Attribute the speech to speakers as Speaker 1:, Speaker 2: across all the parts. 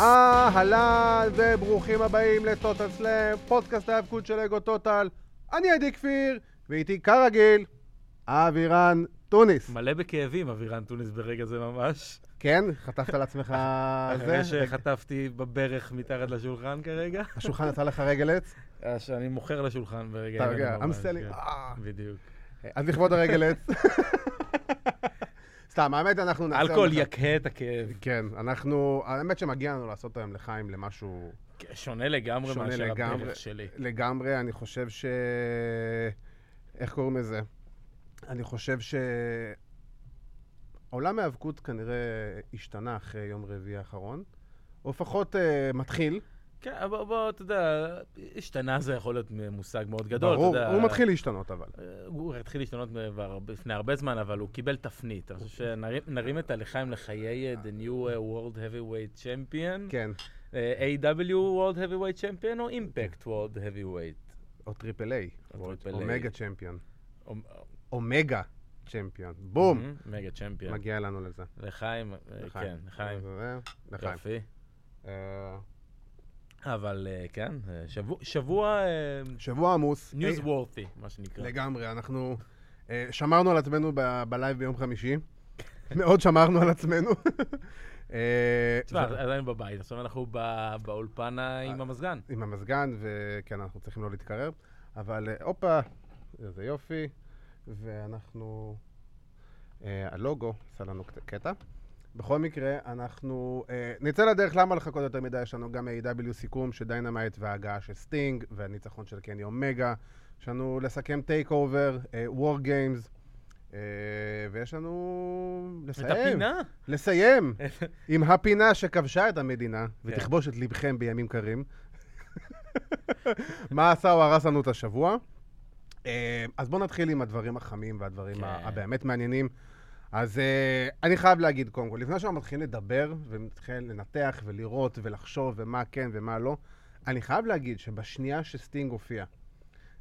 Speaker 1: אהלן וברוכים הבאים לטוטל סלאם, פודקאסט ההיאבקות של אגו טוטל. אני עדי כפיר, ואיתי כרגיל, אבירן טוניס.
Speaker 2: מלא בכאבים, אבירן טוניס ברגע זה ממש.
Speaker 1: כן? חטפת על עצמך
Speaker 2: אחרי
Speaker 1: זה?
Speaker 2: שחטפתי בברך מתחת לשולחן כרגע.
Speaker 1: השולחן עשה לך רגל עץ?
Speaker 2: אז שאני מוכר לשולחן ברגע.
Speaker 1: אתה
Speaker 2: אלה
Speaker 1: רגע,
Speaker 2: ממש,
Speaker 1: I'm selling.
Speaker 2: כן.
Speaker 1: אה.
Speaker 2: בדיוק.
Speaker 1: אז לכבוד הרגל עץ. סתם, האמת, אנחנו נעשה...
Speaker 2: אלכוהול
Speaker 1: יום אחד-
Speaker 2: יקהה את הכאב.
Speaker 1: כן, אנחנו... האמת שמגיע לנו לעשות היום לחיים למשהו...
Speaker 2: כן, שונה לגמרי
Speaker 1: שונה
Speaker 2: מאשר
Speaker 1: לגמרי.
Speaker 2: הברך שלי.
Speaker 1: לגמרי, אני חושב ש... איך קוראים לזה? אני חושב ש... עולם ההיאבקות כנראה השתנה אחרי יום רביעי האחרון, או לפחות אה, מתחיל.
Speaker 2: כן, אבל בוא, בוא, אתה יודע, השתנה זה יכול להיות מושג מאוד גדול.
Speaker 1: ברור,
Speaker 2: אתה יודע,
Speaker 1: הוא מתחיל להשתנות אבל.
Speaker 2: אה, הוא התחיל להשתנות כבר לפני הרבה זמן, אבל הוא קיבל תפנית. אני חושב שנרים נרים את הלחיים לחיי אה, The New אה, World Heavyweight Champion.
Speaker 1: כן,
Speaker 2: אה, A.W. World Heavyweight Champion או Impact World Heavyweight?
Speaker 1: או טריפל איי,
Speaker 2: או טריפל איי.
Speaker 1: אומגה צ'מפיון.
Speaker 2: או-
Speaker 1: אומגה צ'מפיון, בום!
Speaker 2: Mhm, מגה צ'מפיון.
Speaker 1: מגיע לנו לזה.
Speaker 2: לחיים, אה,
Speaker 1: לחיים.
Speaker 2: כן, לחיים.
Speaker 1: זה- לחיים.
Speaker 2: יופי.
Speaker 1: אה,
Speaker 2: אבל אה, כן, אה, שבוע- שבוע
Speaker 1: אה, שבוע עמוס.
Speaker 2: ניוז
Speaker 1: אה,
Speaker 2: וורתי, מה שנקרא.
Speaker 1: לגמרי, אנחנו אה, שמרנו על עצמנו ב- בלייב ביום חמישי. מאוד שמרנו על עצמנו. אה,
Speaker 2: תשמע,
Speaker 1: ו-
Speaker 2: עדיין בבית, עכשיו אנחנו ב- באולפן ה-
Speaker 1: אה,
Speaker 2: עם המזגן.
Speaker 1: עם המזגן, וכן, אנחנו צריכים לא להתקרב, אבל אה, הופה, איזה יופי, ואנחנו... אה, הלוגו עשה לנו קט- קטע. בכל מקרה, אנחנו אה, נצא לדרך, למה לחכות יותר מדי? יש לנו גם A.W. סיכום של דיינמייט וההגעה של סטינג, והניצחון של קני אומגה, יש לנו לסכם אה, טייק אובר, וור גיימס, אה, ויש לנו...
Speaker 2: את
Speaker 1: לסיים.
Speaker 2: הפינה?
Speaker 1: לסיים עם הפינה שכבשה את המדינה ותכבוש את ליבכם בימים קרים. מה עשה או הרס לנו את השבוע? אה, אז בואו נתחיל עם הדברים החמים והדברים
Speaker 2: כן.
Speaker 1: ה- הבאמת מעניינים. אז אה, אני חייב להגיד, קודם כל, לפני שאנחנו מתחילים לדבר ומתחילים לנתח ולראות ולחשוב ומה כן ומה לא, אני חייב להגיד שבשנייה שסטינג הופיע,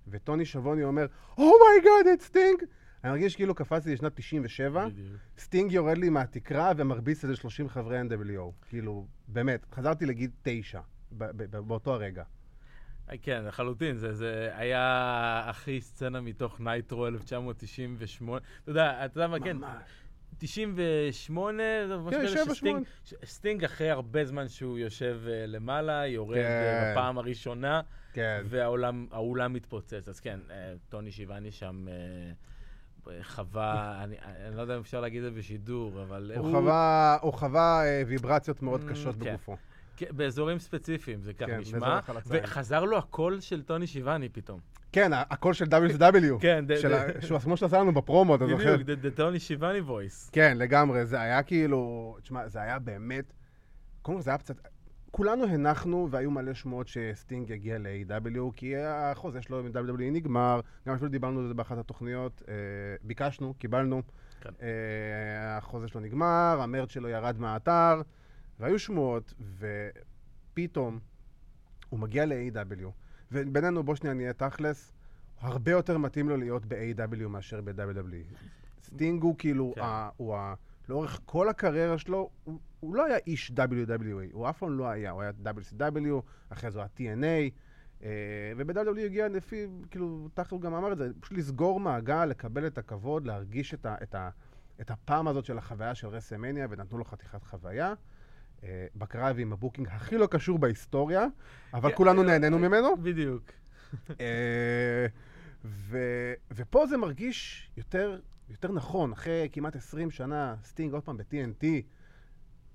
Speaker 1: וטוני שבוני אומר, "Oh אומייגאד, את סטינג! אני מרגיש כאילו קפצתי לשנת 97,
Speaker 2: בדיוק.
Speaker 1: סטינג יורד לי מהתקרה ומרביץ איזה 30 חברי NWO. כאילו, באמת, חזרתי לגיל תשע ב- ב- ב- באותו הרגע.
Speaker 2: אה, כן, לחלוטין, זה- זה היה הכי סצנה מתוך נייטרו 1998. אתה יודע, אתה יודע מה, כן,
Speaker 1: ממש.
Speaker 2: 98, זה ממש
Speaker 1: כן,
Speaker 2: כאלה
Speaker 1: שבע,
Speaker 2: שסטינג, ש- סטינג אחרי הרבה זמן שהוא יושב אה, למעלה, יורד אה,
Speaker 1: כן.
Speaker 2: בפעם הראשונה,
Speaker 1: כן.
Speaker 2: והעולם העולם מתפוצץ. אז כן, אה, טוני שיבני שם אה, אה, חווה, אני אני לא יודע אם אפשר להגיד את זה בשידור, אבל
Speaker 1: הוא חווה- הוא חווה אה, ויברציות מאוד
Speaker 2: Mm,
Speaker 1: קשות
Speaker 2: כן.
Speaker 1: בגופו.
Speaker 2: כן, באזורים ספציפיים, זה ככה
Speaker 1: כן,
Speaker 2: נשמע,
Speaker 1: באזור החלציים.
Speaker 2: וחזר לו הקול של טוני שיבני פתאום.
Speaker 1: כן, ה- הקול של WCW.
Speaker 2: כן, ד-
Speaker 1: של ה-
Speaker 2: ד-
Speaker 1: שהוא- כמו שעשה לנו בפרומו, אתה זוכר?
Speaker 2: בדיוק, the- the טוני שיבני voice.
Speaker 1: כן, לגמרי. זה היה כאילו... תשמע, זה היה באמת... קודם כל, זה היה קצת... כולנו הנחנו, והיו מלא שמועות שסטינג יגיע ל-AW, כי החוזה שלו עם WWE נגמר. גם אפילו דיברנו על זה באחת התוכניות. אה, ביקשנו, קיבלנו.
Speaker 2: כן.
Speaker 1: אה, החוזה שלו נגמר, המרץ שלו ירד מהאתר, והיו שמועות, ופתאום הוא מגיע ל-AW. ובינינו, בוא שנייה נהיה תכלס, הרבה יותר מתאים לו להיות ב-AW מאשר ב-WWE. סטינג הוא כאילו,
Speaker 2: כן.
Speaker 1: ה, הוא ה, לאורך כל הקריירה שלו, הוא, הוא לא היה איש WWE, הוא אף פעם לא היה, הוא היה WCW, אחרי זה הוא היה TNA, אה, וב-WWE הגיע לפי, כאילו, תכף הוא גם אמר את זה, פשוט לסגור מעגל, לקבל את הכבוד, להרגיש את, ה, את, ה, את הפעם הזאת של החוויה של רסמניה, ונתנו לו חתיכת חוויה. אה, בקרב עם הבוקינג הכי לא קשור בהיסטוריה, אבל
Speaker 2: כן,
Speaker 1: כולנו
Speaker 2: אה,
Speaker 1: נהנינו ממנו.
Speaker 2: בדיוק.
Speaker 1: אה, ו, ופה זה מרגיש יותר, יותר נכון, אחרי כמעט 20 שנה, סטינג עוד פעם ב-TNT,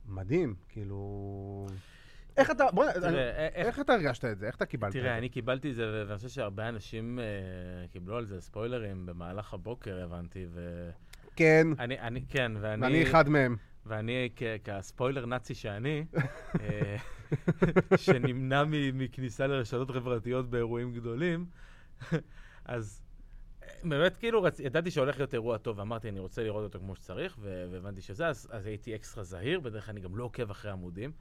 Speaker 1: מדהים, כאילו... איך אתה, בוא,
Speaker 2: אה, תראה,
Speaker 1: אני,
Speaker 2: אה, איך-
Speaker 1: איך, אתה הרגשת את זה? איך אתה קיבלת
Speaker 2: תראה,
Speaker 1: את זה?
Speaker 2: אני קיבלתי את זה, ו- ואני חושב שהרבה אנשים אה, קיבלו על זה ספוילרים במהלך הבוקר, הבנתי, ואני,
Speaker 1: כן,
Speaker 2: אני, כן, ואני,
Speaker 1: ואני אחד מהם.
Speaker 2: ואני כ- כספוילר נאצי שאני, אה, שנמנע מ- מכניסה לרשתות חברתיות באירועים גדולים, אז אה, באמת, כאילו, רצ... ידעתי שהולך להיות אירוע טוב, ואמרתי, אני רוצה לראות אותו כמו שצריך, ו- והבנתי שזה, אז, אז הייתי אקסטרה זהיר, בדרך כלל אני גם לא עוקב אחרי עמודים,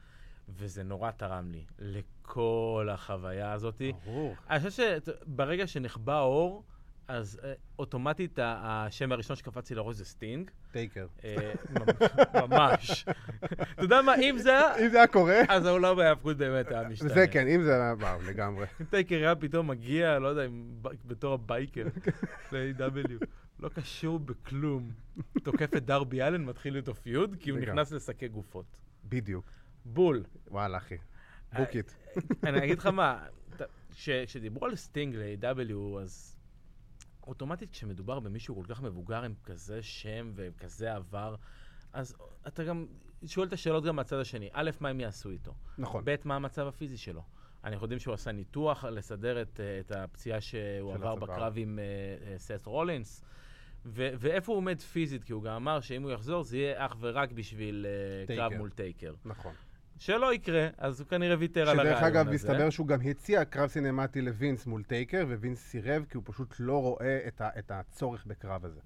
Speaker 2: וזה נורא תרם לי, לכל החוויה הזאתי.
Speaker 1: ברור.
Speaker 2: אני חושב שברגע שנחבא האור, אז אה, אוטומטית ה- השם הראשון שקפץ לי לראש זה סטינג.
Speaker 1: טייקר.
Speaker 2: אה, ממש- ממש. אתה יודע מה, אם זה היה,
Speaker 1: אם זה היה קורה,
Speaker 2: אז העולם ההיאבקות באמת היה משתנה.
Speaker 1: זה כן, אם זה היה, וואו, לגמרי.
Speaker 2: אם טייקר היה פתאום מגיע, לא יודע, עם ב- בתור הבייקר ל-AW, לא קשור בכלום. תוקף את דרבי אלן, מתחיל איתו פיוד, כי הוא
Speaker 1: לגמרי.
Speaker 2: נכנס לשקי גופות.
Speaker 1: בדיוק.
Speaker 2: בול.
Speaker 1: וואלה, אחי. בוקיט.
Speaker 2: אני אגיד לך מה, אתה- כש- כשדיברו על סטינג ל-AW, אז אוטומטית כשמדובר במישהו כל כך מבוגר עם כזה שם וכזה עבר, אז אתה גם שואל את השאלות גם מהצד השני. א', מה הם יעשו איתו?
Speaker 1: נכון.
Speaker 2: ב', מה המצב הפיזי שלו? אנחנו יודעים שהוא עשה ניתוח לסדר את, אה, את הפציעה שהוא
Speaker 1: של
Speaker 2: עבר
Speaker 1: הצוואר.
Speaker 2: בקרב עם אה, אה, סט רולינס, ו- ואיפה הוא עומד פיזית? כי הוא גם אמר שאם הוא יחזור זה יהיה אך ורק בשביל אה,
Speaker 1: טייקר.
Speaker 2: קרב מול טייקר.
Speaker 1: נכון.
Speaker 2: שלא יקרה, אז הוא כנראה ויתר על הרעיון
Speaker 1: שדרך
Speaker 2: הזה.
Speaker 1: אגב, מסתבר שהוא גם הציע קרב סינמטי לווינס מול טייקר, ווינס סירב כי הוא פשוט לא רואה את ה- את הצורך בקרב הזה.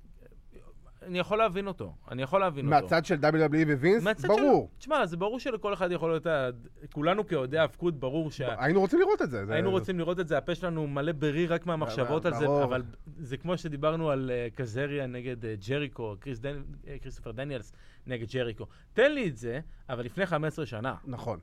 Speaker 2: אני יכול להבין אותו, אני יכול להבין כן, אותו.
Speaker 1: מהצד של WWE
Speaker 2: מהצד
Speaker 1: ווינס,
Speaker 2: של-
Speaker 1: ברור.
Speaker 2: תשמע, זה ברור שלכל אחד יכול להיות... ה- כולנו כאוהדי האבקות, ברור שה...
Speaker 1: היינו רוצים לראות את זה. זה-
Speaker 2: כן. היינו רוצים לראות את זה, הפה שלנו מלא ברי רק מהמחשבות על זה,
Speaker 1: אה, ברור.
Speaker 2: אבל זה כמו שדיברנו על אה, קזריה נגד אה, ג'ריקו, קריס דנ- אה, כריסטופר דניאלס נגד ג'ריקו. תן לי את זה, אבל לפני 15 שנה.
Speaker 1: נכון.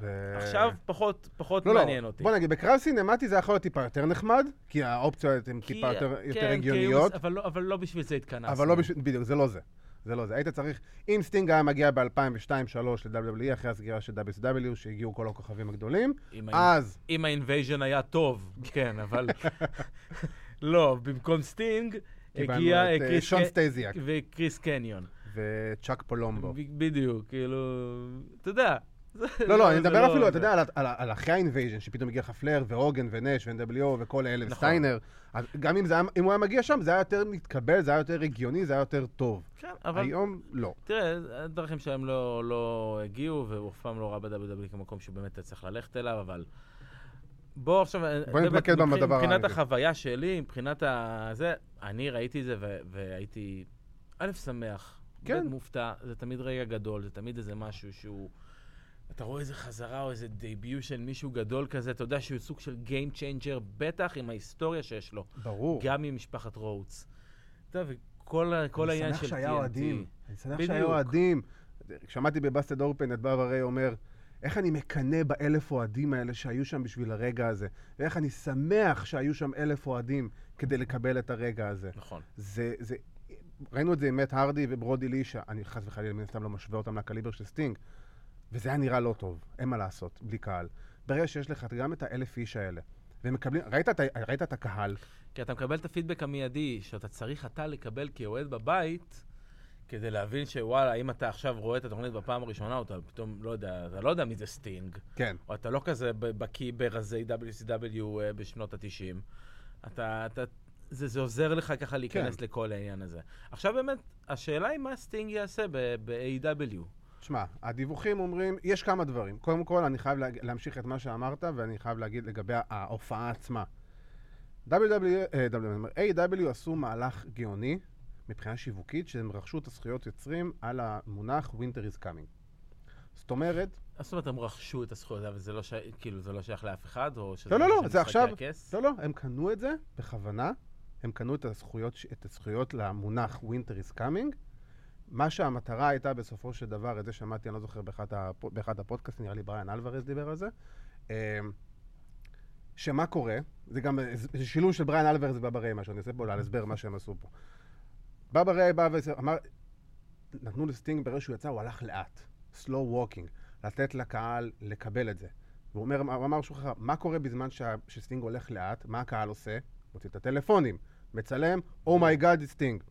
Speaker 1: ו-
Speaker 2: עכשיו פחות פחות
Speaker 1: אה. לא, לא,
Speaker 2: מעניין אותי.
Speaker 1: בוא נגיד, בקרב סינמטי זה יכול להיות טיפה יותר נחמד, כי האופציות הן
Speaker 2: כי-
Speaker 1: טיפה יותר
Speaker 2: כן,
Speaker 1: יותר
Speaker 2: כי-
Speaker 1: הגיוניות,
Speaker 2: אבל לא- אבל לא בשביל זה התכנסנו.
Speaker 1: אבל לא בשביל, בדיוק, זה לא זה. זה לא זה. היית צריך, אם סטינג היה מגיע ב-2002-2003 ל-WWE, E, אחרי הסגירה של WCW, שהגיעו כל הכוכבים הגדולים,
Speaker 2: אם היינו-
Speaker 1: אז,
Speaker 2: אם האינבייז'ן היה טוב, כן, אבל... לא, במקום סטינג,
Speaker 1: קיבלנו
Speaker 2: הגיע אה,
Speaker 1: את אה,
Speaker 2: קריס
Speaker 1: שון
Speaker 2: ק-
Speaker 1: סטייזיאק
Speaker 2: וקריס קניון.
Speaker 1: וצ'אק פולומבו.
Speaker 2: ב- בדיוק, כאילו... אתה יודע. זה-
Speaker 1: לא, לא, אני
Speaker 2: זה
Speaker 1: מדבר אפילו, אתה
Speaker 2: זה.
Speaker 1: יודע, על ה- על ה- על אחרי האינבייז'ן, שפתאום הגיע לך פלר והוגן ונש ו-NWO וכל אלה,
Speaker 2: נכון.
Speaker 1: וסטיינר. אז גם אם זה היה- אם הוא היה מגיע שם, זה היה יותר מתקבל, זה היה יותר הגיוני, זה היה יותר טוב.
Speaker 2: כן, אבל
Speaker 1: היום, לא.
Speaker 2: תראה, הדרכים שלהם לא, לא הגיעו, והוא אף פעם לא ראה ב-WWE כמקום שהוא באמת היה צריך ללכת אליו, אבל... בוא עכשיו...
Speaker 1: בוא
Speaker 2: באמת,
Speaker 1: נתמקד
Speaker 2: מבח-
Speaker 1: בדבר
Speaker 2: מבחינת
Speaker 1: האנגלי.
Speaker 2: החוויה שלי, מבחינת ה... זה, אני ראיתי את זה ו- והייתי, א', שמח,
Speaker 1: כן.
Speaker 2: ב', מופתע, זה תמיד רגע גדול, זה תמיד איזה משהו שהוא... אתה רואה איזה חזרה או איזה דייביו של מישהו גדול כזה, אתה יודע שהוא סוג של Game Changer, בטח עם ההיסטוריה שיש לו.
Speaker 1: ברור.
Speaker 2: גם עם משפחת רודס. אתה יודע, וכל ה- כל העניין של TNT.
Speaker 1: אני שמח שהיה אוהדים. אני שמח שהיה
Speaker 2: בדיוק.
Speaker 1: אוהדים. שמעתי בבאסטד אורפן את בר הרי אומר, איך אני מקנא באלף אוהדים האלה שהיו שם בשביל הרגע הזה, ואיך אני שמח שהיו שם אלף אוהדים כדי לקבל את הרגע הזה.
Speaker 2: נכון.
Speaker 1: זה, זה, ראינו את זה עם מת הרדי וברודי לישה, אני חס וחלילה מן הסתם לא משווה אותם לקליבר של סטינג, וזה היה נראה לא טוב, אין מה לעשות, בלי קהל. ברגע שיש לך גם את האלף איש האלה, והם מקבלים, ראית, את ה- ראית את הקהל,
Speaker 2: כי אתה מקבל את הפידבק המיידי, שאתה צריך אתה לקבל כאוהד בבית, כדי להבין שוואלה, אם אתה עכשיו רואה את התוכנית בפעם הראשונה, או אתה פתאום, לא יודע, אתה לא יודע מי זה סטינג,
Speaker 1: כן,
Speaker 2: או אתה לא כזה ב- בקיא ברזי WCW אה, בשנות ה-90, אתה, אתה, זה, זה עוזר לך ככה להיכנס
Speaker 1: כן.
Speaker 2: לכל העניין הזה. עכשיו באמת, השאלה היא מה סטינג יעשה ב-AW.
Speaker 1: שמע, הדיווחים אומרים, יש כמה דברים. קודם כל, אני חייב להג- להמשיך את מה שאמרת, ואני חייב להגיד לגבי ההופעה עצמה. WWE, אה, WWE, AW עשו מהלך גאוני מבחינה שיווקית, שהם רכשו את הזכויות יוצרים על המונח Winter is coming. זאת אומרת,
Speaker 2: זאת אומרת, הם רכשו את הזכויות, אבל זה לא, ש... כאילו, זה לא שייך לאף אחד, או שזה
Speaker 1: לא, לא, לא,
Speaker 2: של
Speaker 1: זה
Speaker 2: משחקי
Speaker 1: עכשיו-
Speaker 2: הכס?
Speaker 1: לא, לא, הם קנו את זה בכוונה, הם קנו את הזכויות, ש- את הזכויות למונח Winter is coming. מה שהמטרה הייתה בסופו של דבר, את זה שמעתי, אני לא זוכר, באחד, הפו, באחד הפודקאסט, נראה לי בריאן אלוורז דיבר על זה, אמ, שמה קורה, זה גם אה, זה- זה שילוב של בריאן אלוורז ובבא ריי, מה שאני עושה פה, על הסבר מה שהם עשו פה. בבא ריי בא ואמר, נתנו לסטינג ברגע שהוא יצא, הוא הלך לאט, slow walking, לתת לקהל לקבל את זה. והוא אומר, הוא אמר משהו ככה, מה קורה בזמן שה- שסטינג הולך לאט, מה הקהל עושה? מוציא את הטלפונים, מצלם, Oh my god, it's סטינג.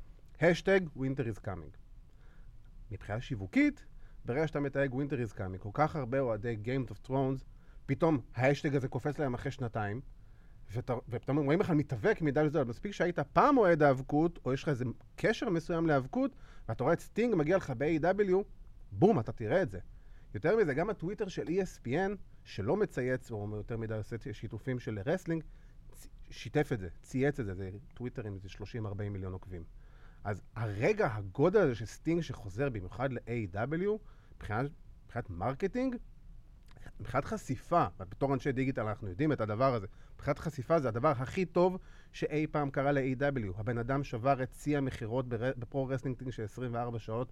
Speaker 1: השטג, winter is coming. מבחינה שיווקית, ברגע שאתה מתייג winter is coming, כל כך הרבה אוהדי Games of Thrones, פתאום ההשטג הזה קופץ להם אחרי שנתיים, ואתה, ופתאום הם רואים לך מתאבק מדי לזה, אבל מספיק שהיית פעם אוהד האבקות, או יש לך איזה קשר מסוים לאבקות, ואתה רואה את סטינג מגיע לך ב-AW, בום, אתה תראה את זה. יותר מזה, גם הטוויטר של E ESPN, שלא מצייץ, או יותר מדי עושה שיתופים של רסלינג, צ- שיתף את זה, צייץ את זה, זה טוויטר עם איזה 30-40 מיליון עוקבים. אז הרגע הגודל הזה של סטינג שחוזר במיוחד ל-AW, מבחינת מבחינת מרקטינג, מבחינת חשיפה, בתור אנשי דיגיטל אנחנו יודעים את הדבר הזה, מבחינת חשיפה זה הדבר הכי טוב שאי פעם קרה ל-AW. הבן אדם שבר את שיא המכירות בר- בפרו-רסלינג של 24 שעות,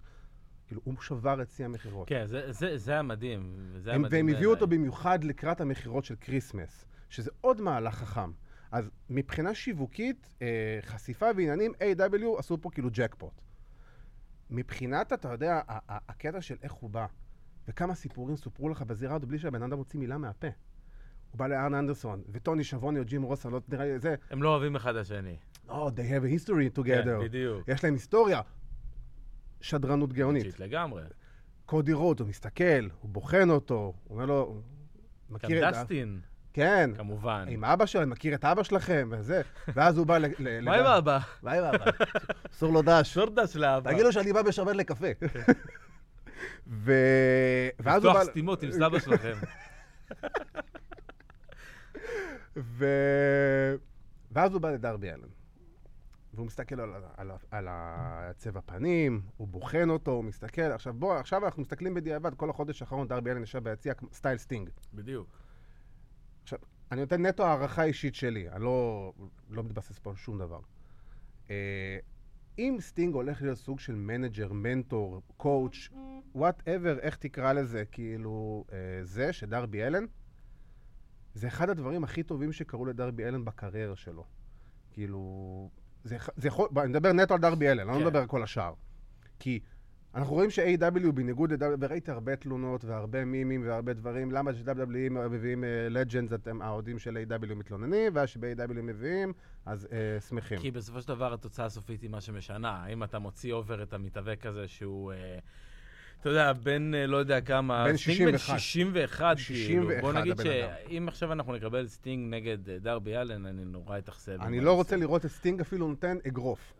Speaker 1: כאילו, הוא שבר את שיא המכירות.
Speaker 2: כן, זה- זה- זה המדהים. זה
Speaker 1: הם,
Speaker 2: המדהים
Speaker 1: והם הביאו אותו
Speaker 2: בעיניי.
Speaker 1: במיוחד לקראת המכירות של כריסמס, שזה עוד מהלך חכם. אז מבחינה שיווקית, אה, חשיפה ועניינים, A.W. עשו פה כאילו ג'קפוט. מבחינת, אתה יודע, ה- ה- הקטע של איך הוא בא, וכמה סיפורים סופרו לך בזירה הזאת בלי שהבן אדם הוציא מילה מהפה. הוא בא לארן אנדרסון, וטוני שבוני או ג'ים רוסה, לא נראה לי זה,
Speaker 2: הם לא אוהבים אחד השני.
Speaker 1: Oh, they have a history
Speaker 2: כן,
Speaker 1: together.
Speaker 2: בדיוק.
Speaker 1: יש להם היסטוריה. שדרנות גאונית.
Speaker 2: שיט לגמרי.
Speaker 1: קודי רוט, הוא מסתכל, הוא בוחן אותו, הוא אומר לו, הוא
Speaker 2: גם
Speaker 1: מכיר את ה...
Speaker 2: דסטין,
Speaker 1: כן,
Speaker 2: כמובן.
Speaker 1: עם אבא שלהם, מכיר את אבא שלכם, וזה. ואז הוא בא ל... ל-
Speaker 2: מה עם
Speaker 1: ל-
Speaker 2: אבא?
Speaker 1: מה עם אבא? אסור לו דש.
Speaker 2: שורדש לאבא.
Speaker 1: תגיד לו שאני בא בשבת לקפה. ו... ואז הוא
Speaker 2: כן. לפתוח
Speaker 1: בא...
Speaker 2: סתימות עם סבא שלכם.
Speaker 1: ו... ואז הוא בא לדרבי אלן. והוא מסתכל על, ה- על, ה- על הצבע פנים, הוא בוחן אותו, הוא מסתכל. עכשיו בוא, עכשיו אנחנו מסתכלים בדיעבד, כל החודש האחרון דרבי אלן ישב ביציע כמו- סטייל סטינג.
Speaker 2: בדיוק.
Speaker 1: אני נותן נטו הערכה אישית שלי, אני לא, לא מתבסס פה על שום דבר. אה, אם סטינג הולך להיות סוג של מנג'ר, מנטור, קואוץ', וואטאבר, איך תקרא לזה, כאילו, אה, זה שדרבי אלן, זה אחד הדברים הכי טובים שקרו לדרבי אלן בקריירה שלו. כאילו, זה, אח- זה יכול, בוא, אני מדבר נטו על דרבי אלן, אני
Speaker 2: כן.
Speaker 1: לא מדבר על כל השאר. כי אנחנו רואים ש-AW בניגוד ל-W, וראיתי הרבה תלונות והרבה מימים והרבה דברים, למה ש-WWE מביאים לג'נדס, אתם האוהדים של AW מתלוננים, ואז שב-AW מביאים, אז אה, שמחים.
Speaker 2: כי בסופו של דבר התוצאה הסופית היא מה שמשנה. האם אתה מוציא אובר את המתאבק הזה שהוא, אה, אתה יודע, בן אה, לא יודע כמה...
Speaker 1: בן 61.
Speaker 2: סטינג בן 61, כאילו.
Speaker 1: 61
Speaker 2: בוא נגיד
Speaker 1: הבן אדם.
Speaker 2: שאם עכשיו אנחנו נקבל סטינג נגד אה, דרבי אלן, אני נורא אתאכזב.
Speaker 1: אני
Speaker 2: אם
Speaker 1: לא
Speaker 2: אני
Speaker 1: רוצה לראות את סטינג אפילו נותן אגרוף.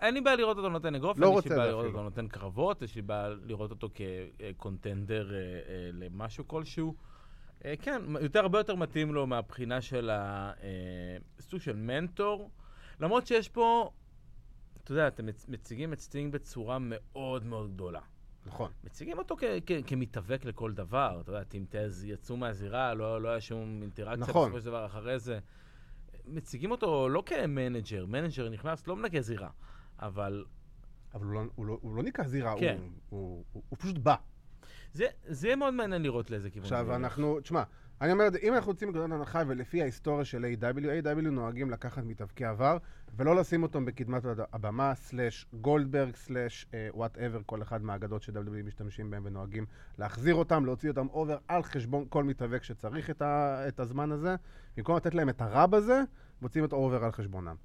Speaker 2: אין לי בעיה לראות אותו נותן אגרוף,
Speaker 1: לא
Speaker 2: אין לי
Speaker 1: רוצה
Speaker 2: בעיה
Speaker 1: זה
Speaker 2: לראות
Speaker 1: אפילו.
Speaker 2: אותו נותן קרבות, יש לי בעיה לראות אותו כקונטנדר אה, אה, למשהו כלשהו. אה, כן, מ- יותר, הרבה יותר מתאים לו מהבחינה של ה- אה, סוג של מנטור. למרות שיש פה, אתה יודע, אתם מצ- מציגים את סטינג בצורה מאוד מאוד גדולה.
Speaker 1: נכון.
Speaker 2: מציגים אותו כ- כ- כמתאבק לכל דבר, אתה יודע, טימטז יצאו מהזירה, לא, לא היה שום אינטראקציה
Speaker 1: נכון.
Speaker 2: בסופו של דבר אחרי זה. מציגים אותו לא כמנג'ר, מנג'ר נכנס, לא מנקה זירה, אבל
Speaker 1: אבל הוא לא, הוא לא, הוא לא נקרא זירה,
Speaker 2: כן.
Speaker 1: הוא, הוא, הוא, הוא פשוט בא.
Speaker 2: זה, זה יהיה מאוד מעניין לראות לאיזה כיוון. זה
Speaker 1: עכשיו,
Speaker 2: הולך.
Speaker 1: אנחנו, תשמע, אני אומר, את זה, אם אנחנו יוצאים מגדולת הנחה ולפי ההיסטוריה של A.W, A.W נוהגים לקחת מתאבקי עבר, ולא לשים אותם בקדמת הד- הבמה, סלאש גולדברג, סלאש וואטאבר, כל אחד מהאגדות ש-W E משתמשים בהם ונוהגים להחזיר אותם, להוציא אותם אובר על חשבון כל מתאבק שצריך את, ה, את הזמן הזה. במקום לתת להם את הרב הזה, מוצאים את אובר על חשבונם.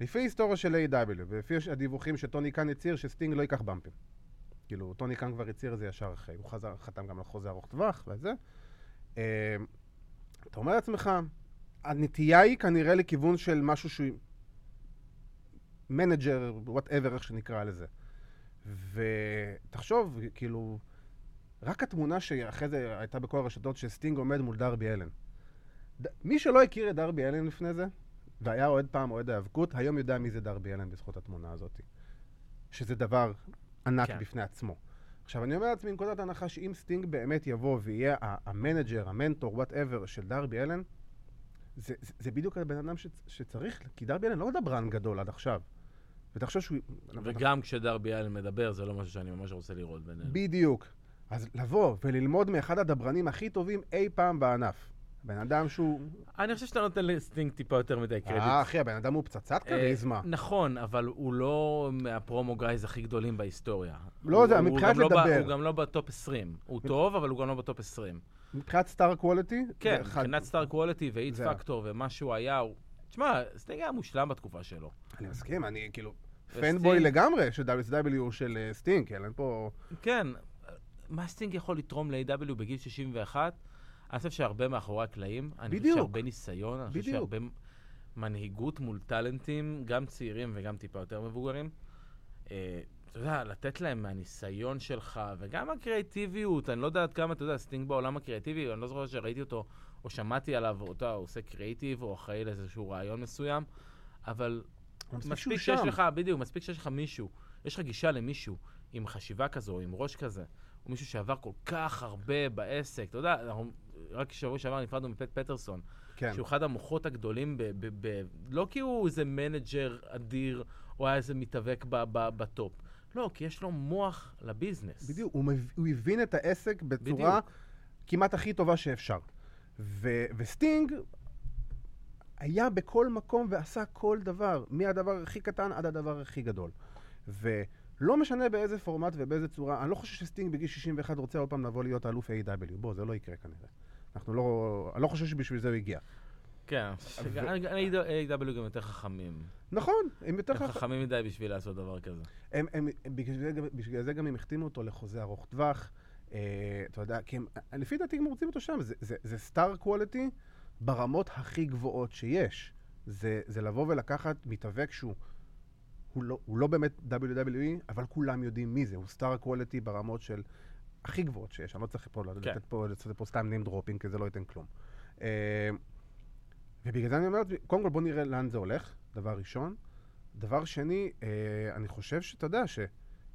Speaker 1: לפי ההיסטוריה של A.W, ולפי הדיווחים שטוני קאן הצהיר שסטינג לא ייקח במפים. כאילו, טוני קאן כבר הצהיר את זה ישר אחרי. הוא חזר, חתם גם על חוזה ארוך טווח וזה. אמ, אתה אומר לעצמך, הנטייה היא כנראה לכיוון של משהו שהוא מנג'ר, וואטאבר, איך שנקרא לזה. ותחשוב, כאילו, רק התמונה שאחרי זה הייתה בכל הרשתות, שסטינג עומד מול דרבי אלן. ד... מי שלא הכיר את דרבי אלן לפני זה, והיה אוהד פעם אוהד האבקות, היום יודע מי זה דרבי אלן בזכות התמונה הזאת. שזה דבר ענק
Speaker 2: כן.
Speaker 1: כן. בפני עצמו. עכשיו, אני אומר לעצמי, מנקודת ההנחה שאם סטינג באמת יבוא ויהיה ה- המנג'ר, המנטור, וואטאבר של דרבי אלן, זה, זה, זה בדיוק הבן אדם שצ, שצריך, כי דרבי אלן לא דברן גדול עד עכשיו. ותחשוב שהוא...
Speaker 2: וגם כשדרבי אלן מדבר, זה לא משהו שאני ממש רוצה לראות בינינו.
Speaker 1: בדיוק. אז לבוא וללמוד מאחד הדברנים הכי טובים אי פעם בענף. בן אדם שהוא...
Speaker 2: אני חושב שאתה נותן לסטינג טיפה יותר מדי קרדיט.
Speaker 1: אה, אחי, הבן אדם הוא פצצת
Speaker 2: אה,
Speaker 1: כריזמה.
Speaker 2: נכון, אבל הוא לא מהפרומו גייז הכי גדולים בהיסטוריה.
Speaker 1: לא,
Speaker 2: הוא-
Speaker 1: זה
Speaker 2: הוא
Speaker 1: מבחינת
Speaker 2: גם לא ב-
Speaker 1: לדבר.
Speaker 2: הוא גם לא בטופ 20. הוא טוב, אבל הוא גם לא בטופ 20.
Speaker 1: מבחינת סטאר קוולטי?
Speaker 2: כן,
Speaker 1: זה אחד-
Speaker 2: מבחינת סטאר קואליטי ואיט
Speaker 1: זה ה-
Speaker 2: פקטור ומה שהוא היה, הוא... תשמע, סטינג היה מושלם בתקופה שלו.
Speaker 1: אני מסכים, אני כאילו...
Speaker 2: וסטינג.
Speaker 1: פנבוי לגמרי של WCW של אה, סטינג, כן, אין פה...
Speaker 2: כן, מה סטינג יכול לתרום ל-AW בגיל 61? אני חושב שהרבה מאחורי הקלעים. אני חושב
Speaker 1: בדיוק.
Speaker 2: שהרבה ניסיון, אני חושב
Speaker 1: בדיוק.
Speaker 2: שהרבה מנהיגות מול טאלנטים, גם צעירים וגם טיפה יותר מבוגרים. אה, אתה יודע, לתת להם מהניסיון שלך, וגם הקריאטיביות, אני לא יודע עד כמה, אתה יודע, סטינג בעולם הקריאטיבי, אני לא זוכר שראיתי אותו, או שמעתי עליו, או אתה עושה קריאיטיב, או אחראי לאיזשהו רעיון מסוים, אבל
Speaker 1: שהוא
Speaker 2: מספיק
Speaker 1: שם.
Speaker 2: שיש לך, בדיוק, מספיק שיש לך מישהו, יש לך גישה למישהו עם חשיבה כזו, עם ראש כזה, הוא מישהו שעבר כל כך הרבה בעסק. אתה יודע, אנחנו, רק שבוע שעבר נפרדנו מפט פטרסון,
Speaker 1: כן,
Speaker 2: שהוא אחד המוחות הגדולים, ב, ב, ב, לא כי הוא איזה מנג'ר אדיר, או היה איזה מתאבק ב, ב, בטופ. לא, כי יש לו מוח לביזנס.
Speaker 1: בדיוק, הוא מב- הוא הבין את העסק בצורה כמעט הכי טובה שאפשר. ו- וסטינג היה בכל מקום ועשה כל דבר, מהדבר הכי קטן עד הדבר הכי גדול. ולא משנה באיזה פורמט ובאיזה צורה, אני לא חושב שסטינג בגיל 61 רוצה עוד פעם לבוא להיות אלוף A.W. בוא, זה לא יקרה כנראה. אנחנו לא, אני לא חושב שבשביל זה הוא הגיע.
Speaker 2: כן, A.W. גם יותר חכמים.
Speaker 1: נכון, הם יותר
Speaker 2: הם
Speaker 1: חכמים.
Speaker 2: חכמים מדי בשביל לעשות דבר כזה.
Speaker 1: הם, הם, הם, בגלל, זה, גם- בגלל זה גם הם החתימו אותו לחוזה ארוך טווח. אה, אתה יודע, כי הם, לפי דעתי הם רוצים אותו שם. זה- זה- זה סטאר קואליטי ברמות הכי גבוהות שיש. זה, זה לבוא ולקחת מתאבק שהוא הוא לא, הוא לא באמת WWE, אבל כולם יודעים מי זה. הוא סטאר קואליטי ברמות של הכי גבוהות שיש. אני לא צריך פה,
Speaker 2: כן.
Speaker 1: כן. לתת פה, לעשות פה סתם name dropping, כי זה לא ייתן כלום. אה, ובגלל זה אני אומר, לעצמי, קודם כל בוא נראה לאן זה הולך, דבר ראשון. דבר שני, אה, אני חושב שאתה יודע ש...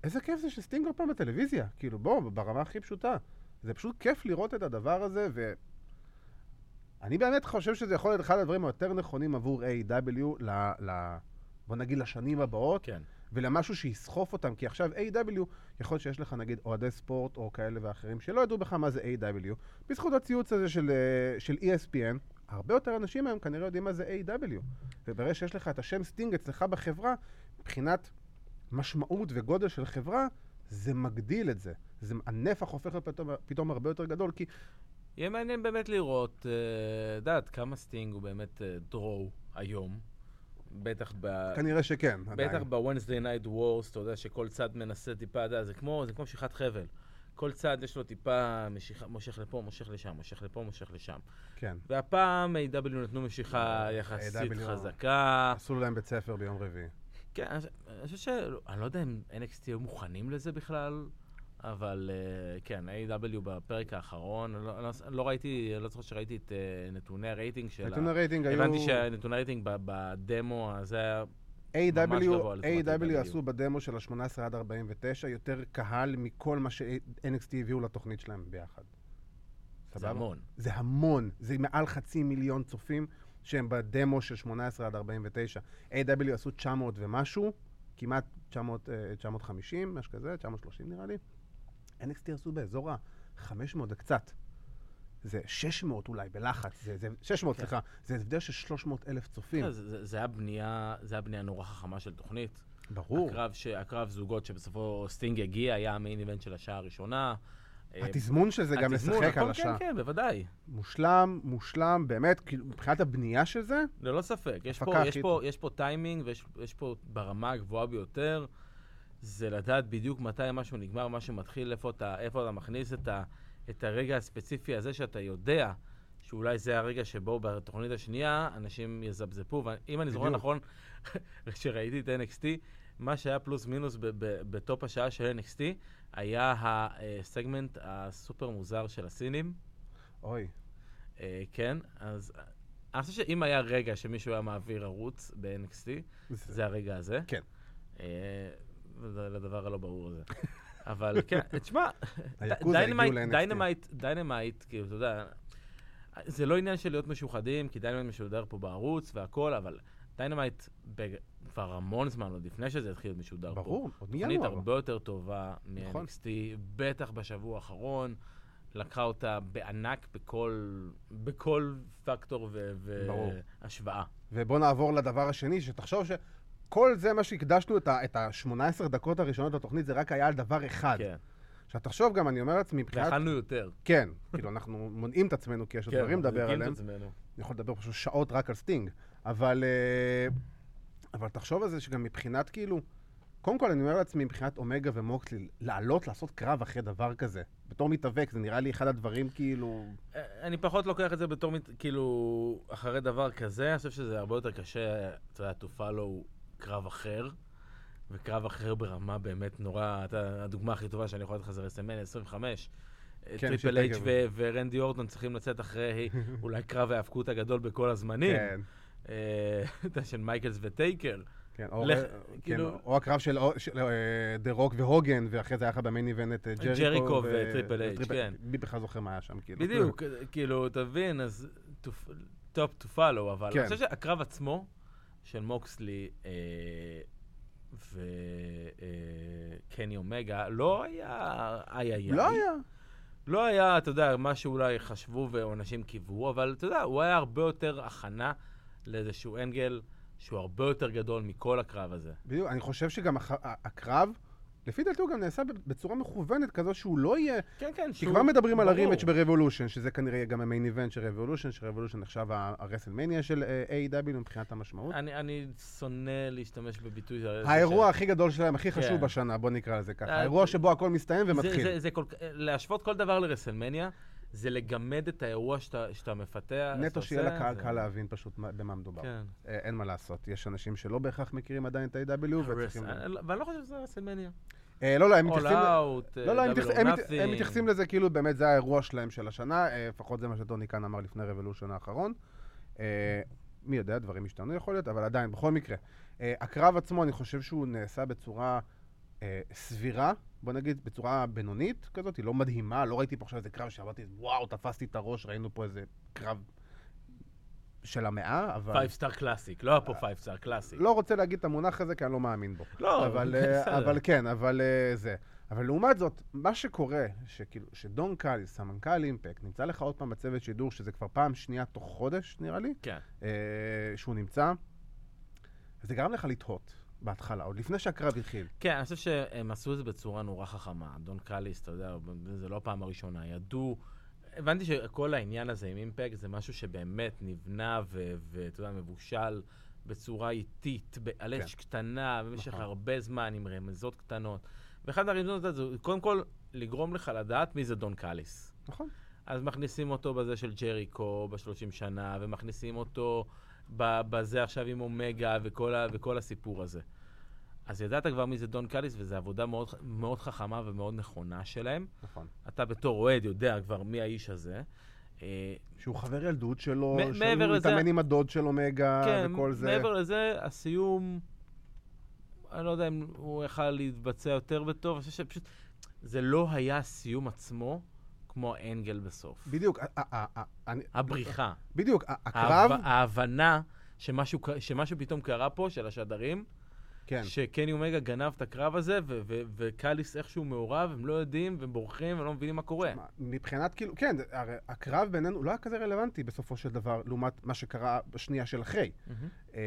Speaker 1: איזה כיף זה שסטינג עוד פעם בטלוויזיה. כאילו, בוא, ברמה הכי פשוטה. זה פשוט כיף לראות את הדבר הזה, ו... אני באמת חושב שזה יכול להיות אחד הדברים היותר נכונים עבור A.W. ל... ל... בוא נגיד לשנים הבאות,
Speaker 2: כן.
Speaker 1: ולמשהו שיסחוף אותם, כי עכשיו A.W. יכול להיות שיש לך נגיד אוהדי ספורט או כאלה ואחרים שלא ידעו בכלל מה זה A.W. בזכות הציוץ הזה של, אה, של ESPN, הרבה יותר אנשים היום כנראה יודעים מה זה A.W. וברגע שיש לך את השם סטינג אצלך בחברה, מבחינת משמעות וגודל של חברה, זה מגדיל את זה. זה הנפח הופך להיות פתאום, פתאום הרבה יותר גדול, כי
Speaker 2: יהיה מעניין באמת לראות, אה, דעת, כמה סטינג הוא באמת דרו היום. בטח ב...
Speaker 1: כנראה שכן, עדיין.
Speaker 2: בטח ב-Wednesday Night Wars, אתה יודע שכל צד מנסה טיפה, אתה יודע, זה כמו, זה כמו משיכת חבל. כל צד יש לו טיפה משיכה, מושך לפה, מושך לשם, מושך לפה, מושך לשם.
Speaker 1: כן.
Speaker 2: והפעם A.W. נתנו משיכה יחסית
Speaker 1: A.W..
Speaker 2: חזקה.
Speaker 1: עשו להם בית ספר ביום רביעי.
Speaker 2: כן, אני חושב- אני חושב ש... אני לא יודע אם NXT היו מוכנים לזה בכלל, אבל אה, כן, A.W. בפרק האחרון, אני לא, אני לא- לא ראיתי, אני לא זוכר שראיתי את אה, נתוני הרייטינג שלה.
Speaker 1: נתון הרייטינג היו...
Speaker 2: הבנתי שנתוני הרייטינג ב- בדמו הזה היה... ממש
Speaker 1: A.W.
Speaker 2: גבוה לטובת
Speaker 1: A.W.
Speaker 2: A.W..
Speaker 1: עשו בדמו של ה-18 עד 49 יותר קהל מכל מה ש-NXT הביאו לתוכנית שלהם ביחד.
Speaker 2: זה
Speaker 1: סבבה?
Speaker 2: המון.
Speaker 1: זה המון. זה מעל חצי מיליון צופים שהם בדמו של 18 עד 49. A.W. עשו 900 ומשהו, כמעט 900, אה, 950, משהו כזה, 930 נראה לי. NXT עשו באזור ה-500 וקצת. זה 600 אולי בלחץ, זה, זה 600,
Speaker 2: כן.
Speaker 1: סליחה, זה הבדל של 300 אלף צופים.
Speaker 2: כן, זה- זה- זה היה בנייה, זה היה בנייה נורא חכמה של תוכנית.
Speaker 1: ברור.
Speaker 2: הקרב, ש, הקרב זוגות שבסופו סטינג הגיע, היה המיין איבנט של השעה הראשונה. אה,
Speaker 1: התזמון של זה גם
Speaker 2: התזמון,
Speaker 1: לשחק
Speaker 2: הכל-
Speaker 1: על השעה.
Speaker 2: כן, כן, בוודאי.
Speaker 1: מושלם, מושלם, באמת, כאילו, מבחינת הבנייה של זה,
Speaker 2: ללא ספק. יש
Speaker 1: הפקה
Speaker 2: פה, יש
Speaker 1: הכי
Speaker 2: פה, יש פה טיימינג ויש יש פה ברמה הגבוהה ביותר, זה לדעת בדיוק מתי משהו נגמר, משהו מתחיל, איפה אתה, איפה אתה מכניס את, ה, את הרגע הספציפי הזה שאתה יודע. שאולי זה הרגע שבו בתוכנית השנייה אנשים יזפזפו, ואם אני זוכר
Speaker 1: בדיוק.
Speaker 2: נכון, כשראיתי את NXT, מה שהיה פלוס מינוס ב- ב- בטופ השעה של NXT, היה הסגמנט הסופר מוזר של הסינים.
Speaker 1: אוי,
Speaker 2: אה, כן, אז אה, אני חושב שאם היה רגע שמישהו היה מעביר ערוץ ב-NXT,
Speaker 1: זה-
Speaker 2: זה הרגע הזה.
Speaker 1: כן.
Speaker 2: אה, וזה לדבר הלא ברור הזה. אבל כן, תשמע,
Speaker 1: היקוזה הגיעו
Speaker 2: דיינמייט-
Speaker 1: ל-NXT.
Speaker 2: דיינמייט, דיינמייט, כאילו, אתה יודע, זה לא עניין של להיות משוחדים, כי דיינמייט משודר פה בערוץ והכל, אבל דיינמייט בג- כבר המון זמן, עוד לפני שזה התחיל להיות משודר פה.
Speaker 1: ברור, עוד
Speaker 2: תוכנית
Speaker 1: מינואר.
Speaker 2: הרבה יותר טובה
Speaker 1: נכון.
Speaker 2: מ-NXT, בטח בשבוע האחרון. לקחה אותה בענק בכל, בכל פקטור ו-
Speaker 1: ברור.
Speaker 2: והשוואה.
Speaker 1: ובואו נעבור לדבר השני, שתחשוב שכל זה מה שהקדשנו את ה- את ה-18 דקות הראשונות לתוכנית, זה רק היה על דבר אחד.
Speaker 2: כן.
Speaker 1: עכשיו, תחשוב גם, אני אומר לעצמי, מבחינת...
Speaker 2: ואכלנו יותר.
Speaker 1: כן, כאילו, אנחנו מונעים את עצמנו, כי יש עוד דברים לדבר
Speaker 2: מחזיקים כן, את
Speaker 1: עליהם.
Speaker 2: עצמנו.
Speaker 1: אני יכול לדבר פשוט שעות רק על סטינג, אבל, אה, אבל תחשוב על זה שגם מבחינת כאילו, קודם כל אני אומר לעצמי, מבחינת אומגה ומוקסלי, לעלות, לעשות קרב אחרי דבר כזה, בתור מתאבק, זה נראה לי אחד הדברים כאילו...
Speaker 2: אה, אני פחות לוקח את זה בתור, מת- כאילו, אחרי דבר כזה, אני חושב שזה הרבה יותר קשה, אתה יודע, to follow קרב אחר, וקרב אחר ברמה באמת נורא, אתה, הדוגמה הכי טובה שאני יכול לתת לך זה רסמן 25. אה,
Speaker 1: כן,
Speaker 2: טריפל
Speaker 1: שתגע
Speaker 2: אייץ' ו- ורנדי אורטון צריכים לצאת אחרי אולי קרב ההאבקות הגדול בכל הזמנים.
Speaker 1: כן.
Speaker 2: אה, אתה יודע, של מייקלס וטייקר.
Speaker 1: כן, או,
Speaker 2: לך-
Speaker 1: כן,
Speaker 2: כאילו-
Speaker 1: או הקרב של של, אה, דה רוק והוגן, ואחרי זה היה לך במיין איבנט את אה, ג'ריקו.
Speaker 2: ג'ריקו
Speaker 1: ו-
Speaker 2: וטריפל אייץ',
Speaker 1: וטריפל-
Speaker 2: כן.
Speaker 1: מי בכלל זוכר מה היה שם, כאילו.
Speaker 2: בדיוק, כאילו, תבין, אז טופ טו פאלו, אבל
Speaker 1: כן.
Speaker 2: אני חושב שהקרב עצמו של מוקסלי אה, וקני אה, אומגה לא היה איי איי.
Speaker 1: לא היה.
Speaker 2: לא היה, אתה יודע, מה שאולי חשבו ואנשים קיוו, אבל אתה יודע, הוא היה הרבה יותר הכנה לאיזשהו אנגל שהוא הרבה יותר גדול מכל הקרב הזה.
Speaker 1: בדיוק, אני חושב שגם הח- ה- הקרב, לפי דעתי הוא גם נעשה בצורה מכוונת כזו שהוא לא יהיה...
Speaker 2: כן, כן,
Speaker 1: כי
Speaker 2: שהוא...
Speaker 1: כבר מדברים על
Speaker 2: ברור.
Speaker 1: הרימץ' ברבולושן, שזה כנראה יהיה גם המיין איבנט של רבולושן, שרבולושן נחשב ה- הרסלמניה של אה, A.E.W. מבחינת המשמעות.
Speaker 2: אני, אני שונא להשתמש בביטוי... של-
Speaker 1: האירוע הכי גדול שלהם, הכי חשוב
Speaker 2: כן.
Speaker 1: בשנה, בוא נקרא לזה ככה.
Speaker 2: אה,
Speaker 1: האירוע שבו הכל מסתיים
Speaker 2: זה,
Speaker 1: ומתחיל.
Speaker 2: זה, זה כל... כ- להשוות כל דבר לרסלמניה, זה לגמד את האירוע שאתה, שאתה מפתח. שאתה
Speaker 1: נטו שיהיה
Speaker 2: עושה,
Speaker 1: לקהל
Speaker 2: זה-
Speaker 1: קל להבין פשוט מה- במה מדובר.
Speaker 2: כן.
Speaker 1: אה, אין מה לעשות, יש אנשים שלא בהכרח מכירים עדיין את ה-AW וצריכים...
Speaker 2: הרס- אני לא- ואני לא חושב שזה רסלמניה.
Speaker 1: אה, לא, לא, הם
Speaker 2: All
Speaker 1: מתייחסים... ל-
Speaker 2: Out,
Speaker 1: לא, לא, הם
Speaker 2: Double
Speaker 1: מתייחס-
Speaker 2: or
Speaker 1: הם מת- הם
Speaker 2: Nothing.
Speaker 1: מתייחסים לזה כאילו באמת זה האירוע שלהם של השנה, אה, לפחות זה מה שטוני קאן אמר לפני רבולושן האחרון. אה, מי יודע, דברים השתנו יכול להיות, אבל עדיין, בכל מקרה. אה, הקרב עצמו, אני חושב שהוא נעשה בצורה אה, סבירה, בוא נגיד, בצורה בינונית כזאת, היא לא מדהימה, לא ראיתי פה עכשיו איזה קרב שאמרתי, וואו, תפסתי את הראש, ראינו פה איזה קרב של המאה, אבל...
Speaker 2: Five Star Classic, לא היה פה Five Star Classic.
Speaker 1: אה, לא רוצה להגיד את המונח הזה, כי אני לא מאמין בו.
Speaker 2: לא,
Speaker 1: אבל,
Speaker 2: בסדר.
Speaker 1: אה, אבל כן, אבל אה, זה. אבל לעומת זאת, מה שקורה, שכאילו, שדון קאליס, סמנכ"ל אימפקט, נמצא לך עוד פעם בצוות שידור, שזה כבר פעם שנייה תוך חודש, נראה לי,
Speaker 2: כן.
Speaker 1: אה, שהוא נמצא, זה גרם לך לתהות בהתחלה, עוד לפני שהקרב התחיל.
Speaker 2: כן, אני חושב שהם עשו את זה בצורה נורא חכמה. דון קאליס, אתה יודע, זה לא הפעם הראשונה, ידעו. הבנתי שכל העניין הזה עם אימפקט זה משהו שבאמת נבנה ו- ואתה יודע, מבושל בצורה איטית, ב- על אש
Speaker 1: כן.
Speaker 2: קטנה, במשך
Speaker 1: נכון.
Speaker 2: הרבה זמן, עם רמזות קטנות. ואחד הרמזות הזה, זה קודם כל, לגרום לך לדעת מי זה דון קאליס.
Speaker 1: נכון.
Speaker 2: אז מכניסים אותו בזה של ג'ריקו ב-30 שנה, ומכניסים אותו ב- בזה עכשיו עם אומגה וכל, ה- וכל הסיפור הזה. אז ידעת כבר מי זה דון קאליס, וזו עבודה מאוד, ח- מאוד חכמה ומאוד נכונה שלהם.
Speaker 1: נכון.
Speaker 2: אתה בתור אוהד יודע כבר מי האיש הזה. אה,
Speaker 1: שהוא חבר ילדות שלו,
Speaker 2: מ- מעבר
Speaker 1: שהוא
Speaker 2: לזה-
Speaker 1: מתאמן עם הדוד של אומגה
Speaker 2: כן,
Speaker 1: אה, וכל זה.
Speaker 2: מעבר לזה, הסיום, אני לא יודע אם הוא יכל להתבצע יותר בטוב, אני חושב שפשוט, זה לא היה הסיום עצמו כמו האנגל בסוף.
Speaker 1: בדיוק, ה- ה- ה- ה- אני-
Speaker 2: הבריחה.
Speaker 1: בדיוק, ה- הקרב,
Speaker 2: ההב- ההבנה שמשהו, ק- שמשהו פתאום קרה פה, של השדרים,
Speaker 1: כן.
Speaker 2: שקני אומגה גנב את הקרב הזה, ו- ו- וקאליס איכשהו מעורב, הם לא יודעים, והם בורחים, והם לא מבינים מה קורה.
Speaker 1: מה, מבחינת כאילו, כן, זה- הרי הקרב בינינו לא היה כזה רלוונטי בסופו של דבר, לעומת מה שקרה בשנייה של אחרי.
Speaker 2: מהמם.
Speaker 1: אה,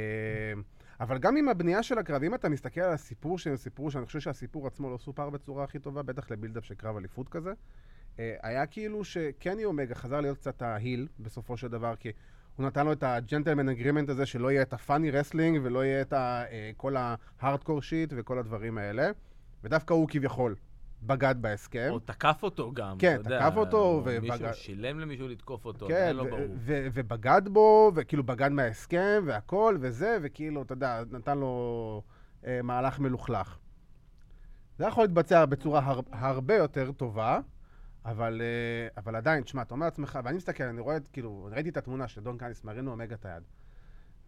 Speaker 1: אבל גם עם הבנייה של הקרב, אם אתה מסתכל על הסיפור שהם סיפרו, שאני חושב שהסיפור עצמו לא סופר בצורה הכי טובה, בטח לבילדאפ של קרב אליפות כזה, אה, היה כאילו שקני אומגה חזר להיות קצת ההיל בסופו של דבר, כי הוא נתן לו את הג'נטלמן אגרימנט הזה, שלא יהיה את הפאני רסלינג ולא יהיה את ה, אה, כל ההארדקור שיט וכל הדברים האלה, ודווקא הוא כביכול בגד בהסכם.
Speaker 2: או תקף אותו גם,
Speaker 1: כן,
Speaker 2: אתה יודע.
Speaker 1: תקף אותו,
Speaker 2: או
Speaker 1: ובג-
Speaker 2: מישהו שילם למישהו לתקוף אותו, זה
Speaker 1: כן,
Speaker 2: לא
Speaker 1: ו-
Speaker 2: ברור.
Speaker 1: ו- ובגד בו, וכאילו בגד מההסכם והכל וזה, וכאילו, אתה יודע, נתן לו אה, מהלך מלוכלך. זה יכול להתבצע בצורה הר- הרבה יותר טובה, אבל, אה, אבל עדיין, תשמע, אתה אומר לעצמך, ואני מסתכל, אני רואה, את- כאילו, אני ראיתי את התמונה של דון קאניס מרינו אומגה את היד.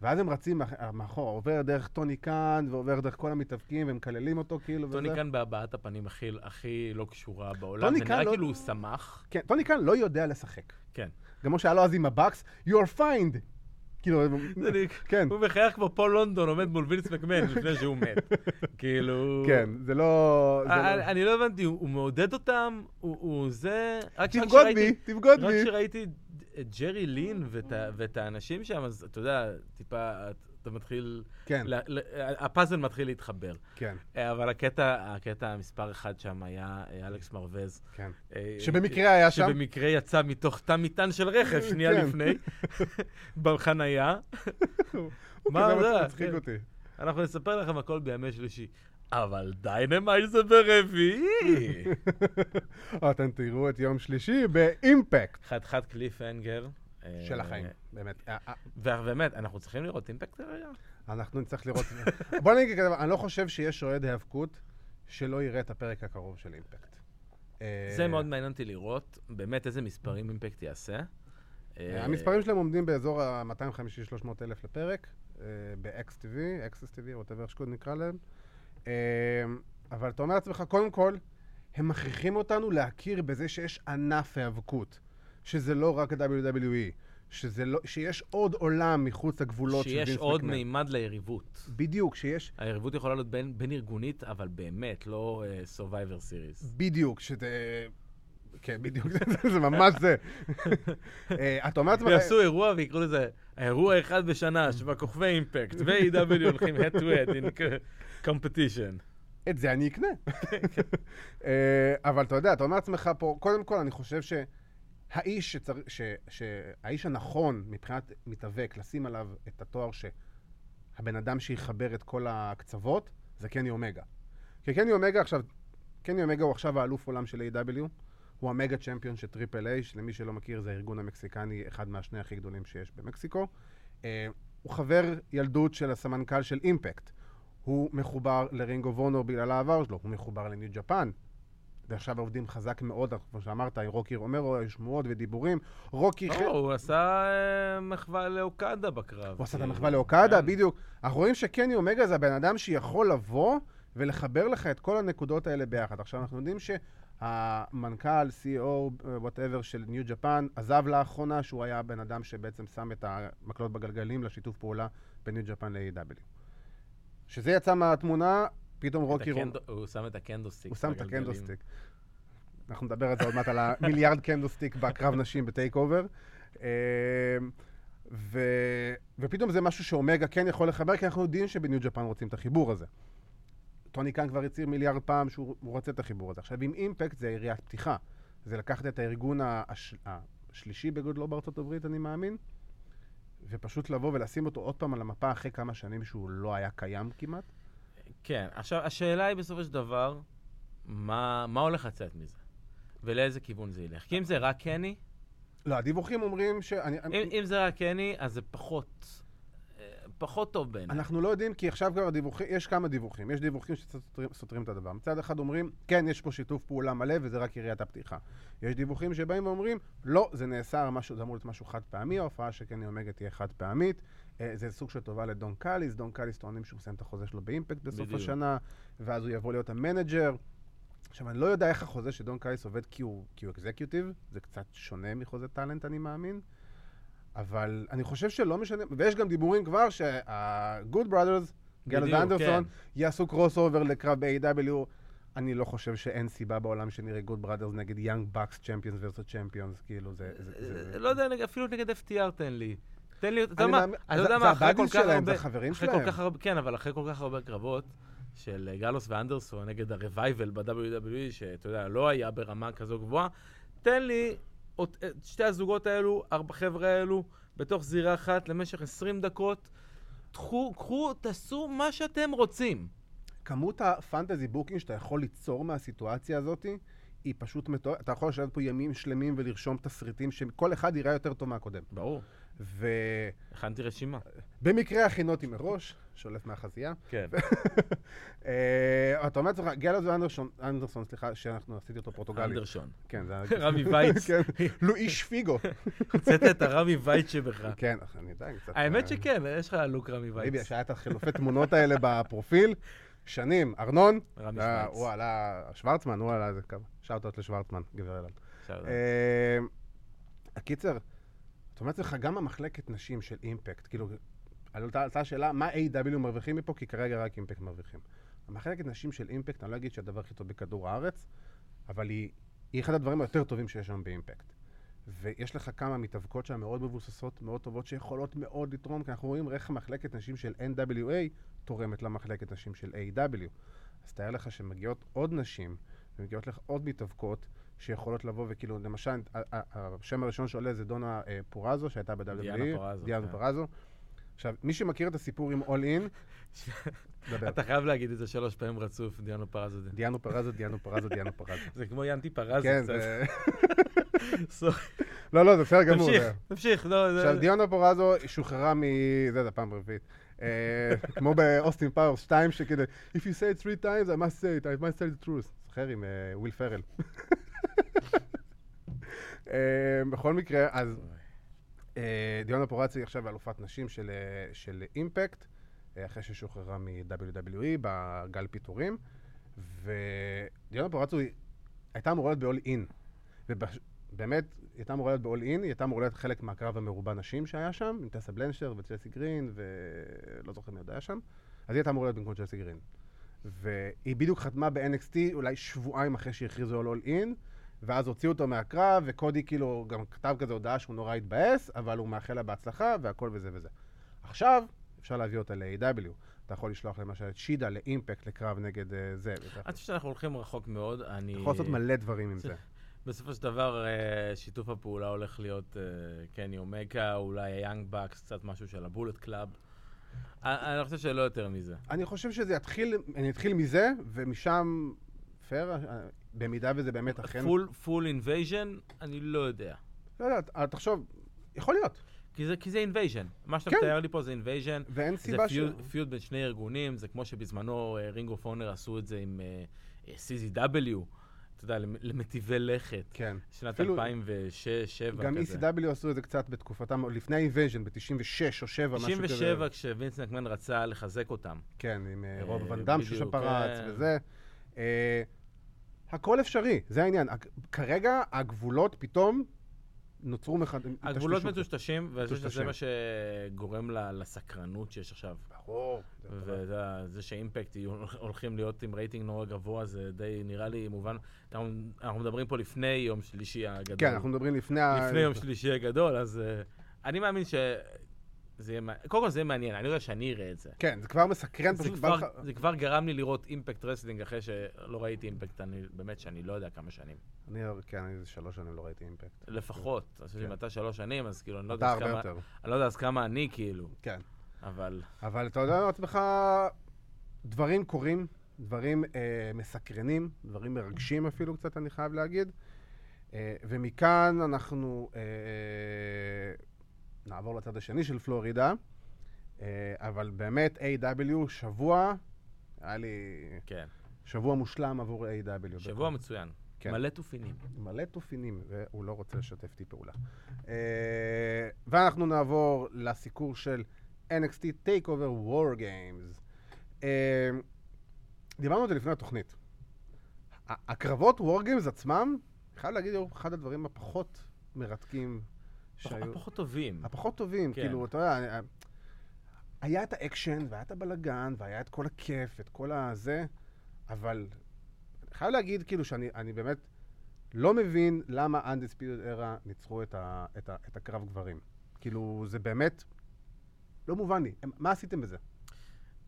Speaker 1: ואז הם רצים מאח- מאחורה, עובר דרך טוני קאן, ועובר דרך כל המתאבקים, והם מקללים אותו, כאילו, וזה.
Speaker 2: טוני כאן בהבעת הפנים הכי, הכי לא קשורה בעולם.
Speaker 1: טוני
Speaker 2: זה
Speaker 1: קאן
Speaker 2: נראה
Speaker 1: לא-
Speaker 2: כאילו הוא שמח.
Speaker 1: כן, טוני קאן לא יודע לשחק.
Speaker 2: כן.
Speaker 1: כמו שהיה לו אז עם הבקס, you're fined! כאילו,
Speaker 2: זה נראה-
Speaker 1: כן.
Speaker 2: הוא מחייך כמו פול לונדון עומד מול וינס מקמן לפני שהוא מת. כאילו...
Speaker 1: כן, זה לא... זה
Speaker 2: אני-
Speaker 1: לא-
Speaker 2: אני לא הבנתי, הוא הוא מעודד אותם, הוא- הוא זה... רק רק
Speaker 1: תבגוד בי,
Speaker 2: אה, שראיתי-
Speaker 1: תבגוד
Speaker 2: רק
Speaker 1: בי.
Speaker 2: כשראיתי את ג'רי לין ואת ה- ואת האנשים שם, אז אתה יודע, טיפה, אתה מתחיל...
Speaker 1: כן,
Speaker 2: ל- ל- הפאזל מתחיל להתחבר.
Speaker 1: כן,
Speaker 2: אה, אבל הקטע, הקטע המספר אחד שם היה אה, אלכס מרווז.
Speaker 1: כן.
Speaker 2: אה,
Speaker 1: שבמקרה היה שם.
Speaker 2: שבמקרה יצא מתוך תא מטען של רכב, שנייה
Speaker 1: כן.
Speaker 2: לפני, בחנייה.
Speaker 1: הוא
Speaker 2: מה
Speaker 1: כזה
Speaker 2: זה?
Speaker 1: מצחיק
Speaker 2: כן.
Speaker 1: אותי.
Speaker 2: אנחנו נספר לכם הכל בימי שלישי. אבל דיינמייט זה ברביעי!
Speaker 1: אה, אתם תראו את יום שלישי באימפקט.
Speaker 2: חתיכת קליפהנגר. אה,
Speaker 1: של החיים, באמת. אה, אה,
Speaker 2: ובאמת, אנחנו צריכים לראות אימפקט הרגע.
Speaker 1: אנחנו נצטרך לראות... בוא נגיד כזה, אני לא חושב שיש אוהד היאבקות שלא יראה את הפרק הקרוב של אימפקט. אה,
Speaker 2: זה מאוד מעניין אותי לראות, באמת איזה מספרים אימפקט יעשה.
Speaker 1: אה,
Speaker 2: אה,
Speaker 1: המספרים שלהם עומדים באזור ה-250-300 אלף לפרק. אה, ב-XTV, XSTV, ווטאבר שקוד נקרא להם. אה, אבל אתה אומר לעצמך, קודם כל, הם מכריחים אותנו להכיר בזה שיש ענף היאבקות, שזה לא רק ה-WWE, שזה לא, שיש עוד עולם מחוץ לגבולות של
Speaker 2: שיש
Speaker 1: וינס
Speaker 2: עוד
Speaker 1: מקמן.
Speaker 2: מימד ליריבות.
Speaker 1: בדיוק, שיש,
Speaker 2: היריבות יכולה להיות בין, בין ארגונית, אבל באמת, לא uh, Survivor Series.
Speaker 1: בדיוק, שזה... כן, בדיוק, זה ממש זה. אה, אתה אומר לעצמך...
Speaker 2: יעשו אירוע ויקראו לזה האירוע האחד בשנה, שבה כוכבי אימפקט ו-AW הולכים head to head in co- competition.
Speaker 1: את זה אני אקנה. אה, אבל אתה יודע, אתה אומר לעצמך פה, קודם כל, אני חושב שהאיש, שצר... ש... ש... האיש הנכון מבחינת מתאבק, לשים עליו את התואר שהבן אדם שיחבר את כל הקצוות, זה קני אומגה. כי קני אומגה עכשיו, קני אומגה הוא עכשיו האלוף עולם של A.W. הוא המגה צ'מפיון של טריפל איי, שלמי שלא מכיר זה הארגון המקסיקני, אחד מהשני הכי גדולים שיש במקסיקו. אה, הוא חבר ילדות של הסמנכ"ל של אימפקט. הוא מחובר לרינג אוף אונור בגלל העבר שלו, הוא מחובר לניו ג'פן. ועכשיו עובדים חזק מאוד, כמו שאמרת, רוקי רומרו, יש שמועות ודיבורים. רוקי...
Speaker 2: לא,
Speaker 1: ח-
Speaker 2: הוא עשה אה, מחווה לאוקדה בקרב.
Speaker 1: הוא עשה את
Speaker 2: כאילו.
Speaker 1: המחווה לאוקדה,
Speaker 2: כן.
Speaker 1: בדיוק. אנחנו רואים שקני אומגה זה הבן אדם שיכול לבוא ולחבר לך את כל הנקודות האלה ביחד. עכשיו, אנחנו יודעים שהמנכ"ל, CEO, וואטאבר של ניו ג'פן, עזב לאחרונה, שהוא היה הבן אדם שבעצם שם את המקלות בגלגלים לשיתוף פעולה בין ניו ג'פן ל-AW. E שזה יצא מהתמונה, פתאום
Speaker 2: את
Speaker 1: רוקי רומרו...
Speaker 2: הקנדו- הוא שם את הקנדוסטיק.
Speaker 1: הוא שם את
Speaker 2: בגלגלים.
Speaker 1: הקנדלסטיק. אנחנו נדבר על זה עוד מעט, על המיליארד קנדלסטיק בקרב נשים בטייק אובר. אמ, ו... ופתאום זה משהו שאומגה כן יכול לחבר, כי אנחנו יודעים שבניו ג'פן רוצים את החיבור הזה. טוני קאן כבר הצהיר מיליארד פעם שהוא הוא רוצה את החיבור הזה. עכשיו, עם אימפקט זה יריית פתיחה. זה לקחת את הארגון ה- הש... השלישי בגודלו בארצות הברית, אני מאמין, ופשוט לבוא ולשים אותו עוד פעם על המפה אחרי כמה שנים שהוא לא היה קיים כמעט.
Speaker 2: כן, עכשיו, השאלה היא בסופו של דבר, מה מה הולך לצאת מזה? ולאיזה כיוון זה ילך? כי אם זה רק קני,
Speaker 1: לא, הדיווחים אומרים ש... אני...
Speaker 2: אם, אם זה רק קני, אז זה פחות, אה, פחות טוב בעיניי.
Speaker 1: אנחנו לא יודעים, כי עכשיו כבר הדיווחים, יש כמה דיווחים. יש דיווחים שסותרים סותרים את הדבר. מצד אחד אומרים, כן, יש פה שיתוף פעולה מלא, וזה רק יריית הפתיחה. יש דיווחים שבאים ואומרים, לא, זה נאסר, משהו, זה אמור להיות משהו חד פעמי, ההופעה שקני אומגה תהיה חד פעמית. אה, זה סוג של טובה לדון קאליס, דון קאליס טוענים שהוא מסיים את החוזה שלו באימפקט בסוף
Speaker 2: בדיוק.
Speaker 1: השנה, ואז הוא יבוא להיות המנג'ר. עכשיו, אני לא יודע איך החוזה של דון קאליס עובד כי הוא, כי הוא אקזקיוטיב, זה קצת שונה מחוזה טאלנט, אני מאמין. אבל אני חושב שלא משנה, ויש גם דיבורים כבר שה-good brothers, גלד
Speaker 2: בדיוק,
Speaker 1: ואנדרסון,
Speaker 2: כן.
Speaker 1: יעשו קרוס אובר לקרב ב-AW. אני לא חושב שאין סיבה בעולם שנראה גוד בראדרס נגד יאנג בקס צ'מפיונס ורסוס צ'מפיונס, כאילו זה... זה- זה-
Speaker 2: אה, לא יודע, נג- אפילו נגד FTR תן לי. תן לי, אתה יודע
Speaker 1: אני
Speaker 2: מה,
Speaker 1: מאמין-
Speaker 2: אתה
Speaker 1: זה-
Speaker 2: יודע
Speaker 1: זה
Speaker 2: מה, אחרי כל
Speaker 1: הבאדיז
Speaker 2: כך הרבה...
Speaker 1: שלהם, זה החברים
Speaker 2: אחרי
Speaker 1: שלהם.
Speaker 2: כל כך הרבה, כן, אבל אחרי כל כך הרבה קרבות של אה, גלוס ואנדרסון נגד ה-revival ב-WWE, שאתה יודע, לא היה ברמה כזו גבוהה, תן לי אות- את שתי הזוגות האלו, ארבע חבר'ה האלו, בתוך זירה אחת למשך 20 דקות. תחו, קחו, תעשו מה שאתם רוצים.
Speaker 1: כמות הפנטזי בוקינג שאתה יכול ליצור מהסיטואציה הזאת, היא פשוט מטורפת. אתה יכול לשבת פה ימים שלמים ולרשום תסריטים שכל אחד יראה יותר טוב מהקודם.
Speaker 2: ברור.
Speaker 1: ובמקרה
Speaker 2: הכנתי רשימה.
Speaker 1: הכינותי מראש, שולף מהחזייה.
Speaker 2: כן.
Speaker 1: אה, אתה אומר לעצמך, גלד ואנדרסון, אנדרסון, סליחה, שאנחנו עשיתי אותו פורטוגלי.
Speaker 2: אנדרשון.
Speaker 1: כן, זה... היה-
Speaker 2: רמי וייץ.
Speaker 1: כן, לואי שפיגו.
Speaker 2: הוצאת את הרמי וייץ שבך.
Speaker 1: כן, אני יודע, קצת...
Speaker 2: האמת
Speaker 1: אה,
Speaker 2: שכן, יש לך לוק רמי וייץ.
Speaker 1: ביבי, שהיה את החילופי תמונות האלה בפרופיל, שנים. ארנון,
Speaker 2: רמי
Speaker 1: אה,
Speaker 2: וייץ.
Speaker 1: הוא עלה, שוורצמן, הוא עלה איזה כמה. שאוטות לשוורצמן, גבר אלעד.
Speaker 2: עכשיו,
Speaker 1: אה, הקיצר, אתה אומר לעצמך, גם המחלקת נשים של אימפקט, כאילו, עלתה עלתה השאלה, מה A.W. מרוויחים מפה, כי כרגע רק אימפקט מרוויחים. המחלקת נשים של אימפקט, אני לא אגיד שהדבר הכי טוב בכדור הארץ, אבל היא, היא אחד הדברים היותר טובים שיש שם באימפקט. ויש לך כמה מתאבקות שם מאוד מבוססות, מאוד טובות, שיכולות מאוד לתרום, כי אנחנו רואים איך מחלקת נשים של NWA תורמת למחלקת נשים של A.W. אז תאר לך שמגיעות עוד נשים, ומגיעות לך עוד מתאבקות, שיכולות לבוא וכאילו, למשל, ה- ה- השם הראשון שעולה זה דונה אה, פורזו, שהייתה ב-WWE.
Speaker 2: דיאנה פורזו,
Speaker 1: E? דיאנה
Speaker 2: כן.
Speaker 1: פורזו. עכשיו, מי שמכיר את הסיפור עם All In, דבר.
Speaker 2: אתה חייב להגיד את זה שלוש פעמים רצוף, דיאנו פרזו.
Speaker 1: דיאנו פרזו, דיאנו פרזו, דיאנו פרזו.
Speaker 2: זה כמו ינטי פרזו.
Speaker 1: כן,
Speaker 2: קצת.
Speaker 1: זה...
Speaker 2: סורי.
Speaker 1: לא, לא, זה בסדר גמור.
Speaker 2: תמשיך,
Speaker 1: זה-
Speaker 2: תמשיך, לא, זה...
Speaker 1: עכשיו, דיונה פורזו שוחררה מ... זה, זה פעם רביעית. אה, כמו באוסטין פאוורס 2, שכאילו, If you say it three times, I must say it, I must tell the truth. זוכר עם אה, וויל פרל. אה, בכל מקרה, אז אה, דיונה פורצי עכשיו אלופת נשים של, אה, של אימפקט, אה, אחרי ששוחררה מ-WWE בגל פיטורים, ודיונה פורצי היא- הייתה אמורה להיות ב-all in, ובאמת, היא הייתה אמורה להיות ב-all in, היא הייתה אמורה להיות חלק מהקרב המרובע נשים שהיה שם, עם טסה בלנשר וצ'סי גרין, ולא זוכר מי עוד היה שם, אז היא הייתה אמורה להיות במקום צ'סי גרין. והיא בדיוק חתמה ב-NXT אולי שבועיים אחרי שהכריזו על All In, ואז הוציאו אותו מהקרב, וקודי כאילו גם כתב כזה הודעה שהוא נורא התבאס, אבל הוא מאחל לה בהצלחה, והכל וזה וזה. עכשיו, אפשר להביא אותה ל-AW. אתה יכול לשלוח למשל את שידה לאימפקט לקרב נגד אה, זה. ואתה
Speaker 2: אני חושב שאנחנו הולכים רחוק מאוד. אני...
Speaker 1: יכול לעשות מלא דברים עם זה.
Speaker 2: בסופו של דבר, אה, שיתוף הפעולה הולך להיות אה, קני אומגה, אולי היאנג בקס, קצת משהו של הבולט קלאב. אה, אני חושב שלא יותר מזה.
Speaker 1: אני חושב שזה יתחיל, אני אתחיל מזה, ומשם, פייר, אה, במידה וזה באמת אכן...
Speaker 2: פול, פול אינבייז'ן, אני לא יודע.
Speaker 1: לא יודע, אה, תחשוב, יכול להיות.
Speaker 2: כי זה, כי זה אינבייז'ן. מה שאתה
Speaker 1: כן.
Speaker 2: מתאר לי פה זה אינבייז'ן.
Speaker 1: ואין
Speaker 2: זה
Speaker 1: סיבה ש...
Speaker 2: פיוד, פיוד בין שני ארגונים, זה כמו שבזמנו אה, רינג אוף אונר עשו את זה עם אה, אה, CZW, אתה יודע, למ- למטיבי לכת.
Speaker 1: כן.
Speaker 2: שנת
Speaker 1: אפילו-
Speaker 2: 2006-2007 כזה.
Speaker 1: גם ECW עשו את זה קצת בתקופתם, עוד לפני איבז'ן, ב-96 או 7, משהו כזה.
Speaker 2: 97, כשווינס נקמן רצה לחזק אותם.
Speaker 1: כן, עם אה,
Speaker 2: אה,
Speaker 1: רוב ואן דאם
Speaker 2: בדיוק,
Speaker 1: שפרץ
Speaker 2: כן.
Speaker 1: וזה. אה, הכל אפשרי, זה העניין. הק- כרגע הגבולות פתאום נוצרו מחד...
Speaker 2: הגבולות
Speaker 1: היטשטשו.
Speaker 2: מטושטשים, ואני חושב שזה
Speaker 1: מטושטשים.
Speaker 2: מה שגורם ל- לסקרנות שיש עכשיו.
Speaker 1: ברור. זה טוב.
Speaker 2: וזה זה שאימפקט יהיו- הולכים להיות עם רייטינג נורא גבוה, זה די נראה לי מובן. אנחנו אנחנו מדברים פה לפני יום שלישי הגדול.
Speaker 1: כן, אנחנו מדברים לפני ה...
Speaker 2: לפני יום שלישי הגדול, אז אה, אני מאמין שזה יהיה... מע- קודם כל זה יהיה מעניין, אני יודע שאני אראה את זה.
Speaker 1: כן, זה כבר מסקרן,
Speaker 2: זה
Speaker 1: פשוט כבר...
Speaker 2: כבר, זה כבר גרם לי לראות אימפקט רסלינג אחרי שלא ראיתי אימפקט, אני באמת שאני לא יודע כמה שנים.
Speaker 1: אני, כן, אני איזה שלוש שנים לא ראיתי אימפקט.
Speaker 2: לפחות, אני חושב שאם אתה שלוש שנים, אז כאילו, אני לא יודע
Speaker 1: כן. אתה
Speaker 2: אז
Speaker 1: הרבה
Speaker 2: כמה-
Speaker 1: יותר,
Speaker 2: אני לא יודע אז כמה אני, כאילו,
Speaker 1: כן.
Speaker 2: אבל...
Speaker 1: אבל אתה יודע לעצמך, דברים קורים, דברים אה, מסקרנים, דברים מרגשים אפילו קצת, אני חייב להגיד. אה, ומכאן אנחנו אה, נעבור לצד השני של פלורידה, אה, אבל באמת A.W. שבוע, היה לי
Speaker 2: כן.
Speaker 1: שבוע מושלם עבור A.W.
Speaker 2: שבוע מצוין.
Speaker 1: כן.
Speaker 2: מלא תופינים.
Speaker 1: מלא תופינים, והוא לא רוצה לשתף איתי פעולה. אה, ואנחנו נעבור לסיקור של NXT Takeover War Games. אה, דיברנו על זה לפני התוכנית. ה- הקרבות War Games עצמם, אני חייב להגיד, היו אחד הדברים הפחות מרתקים שהיו.
Speaker 2: פחות טובים.
Speaker 1: הפחות טובים,
Speaker 2: כן.
Speaker 1: כאילו, אתה יודע, אני- היה את האקשן, והיה את הבלגן, והיה את כל הכיף, את כל הזה, אבל אני חייב להגיד, כאילו, שאני אני באמת לא מבין למה Undisputed Era ניצחו את, ה, את, ה, את הקרב גברים. כאילו, זה באמת לא מובן לי. הם- מה עשיתם בזה?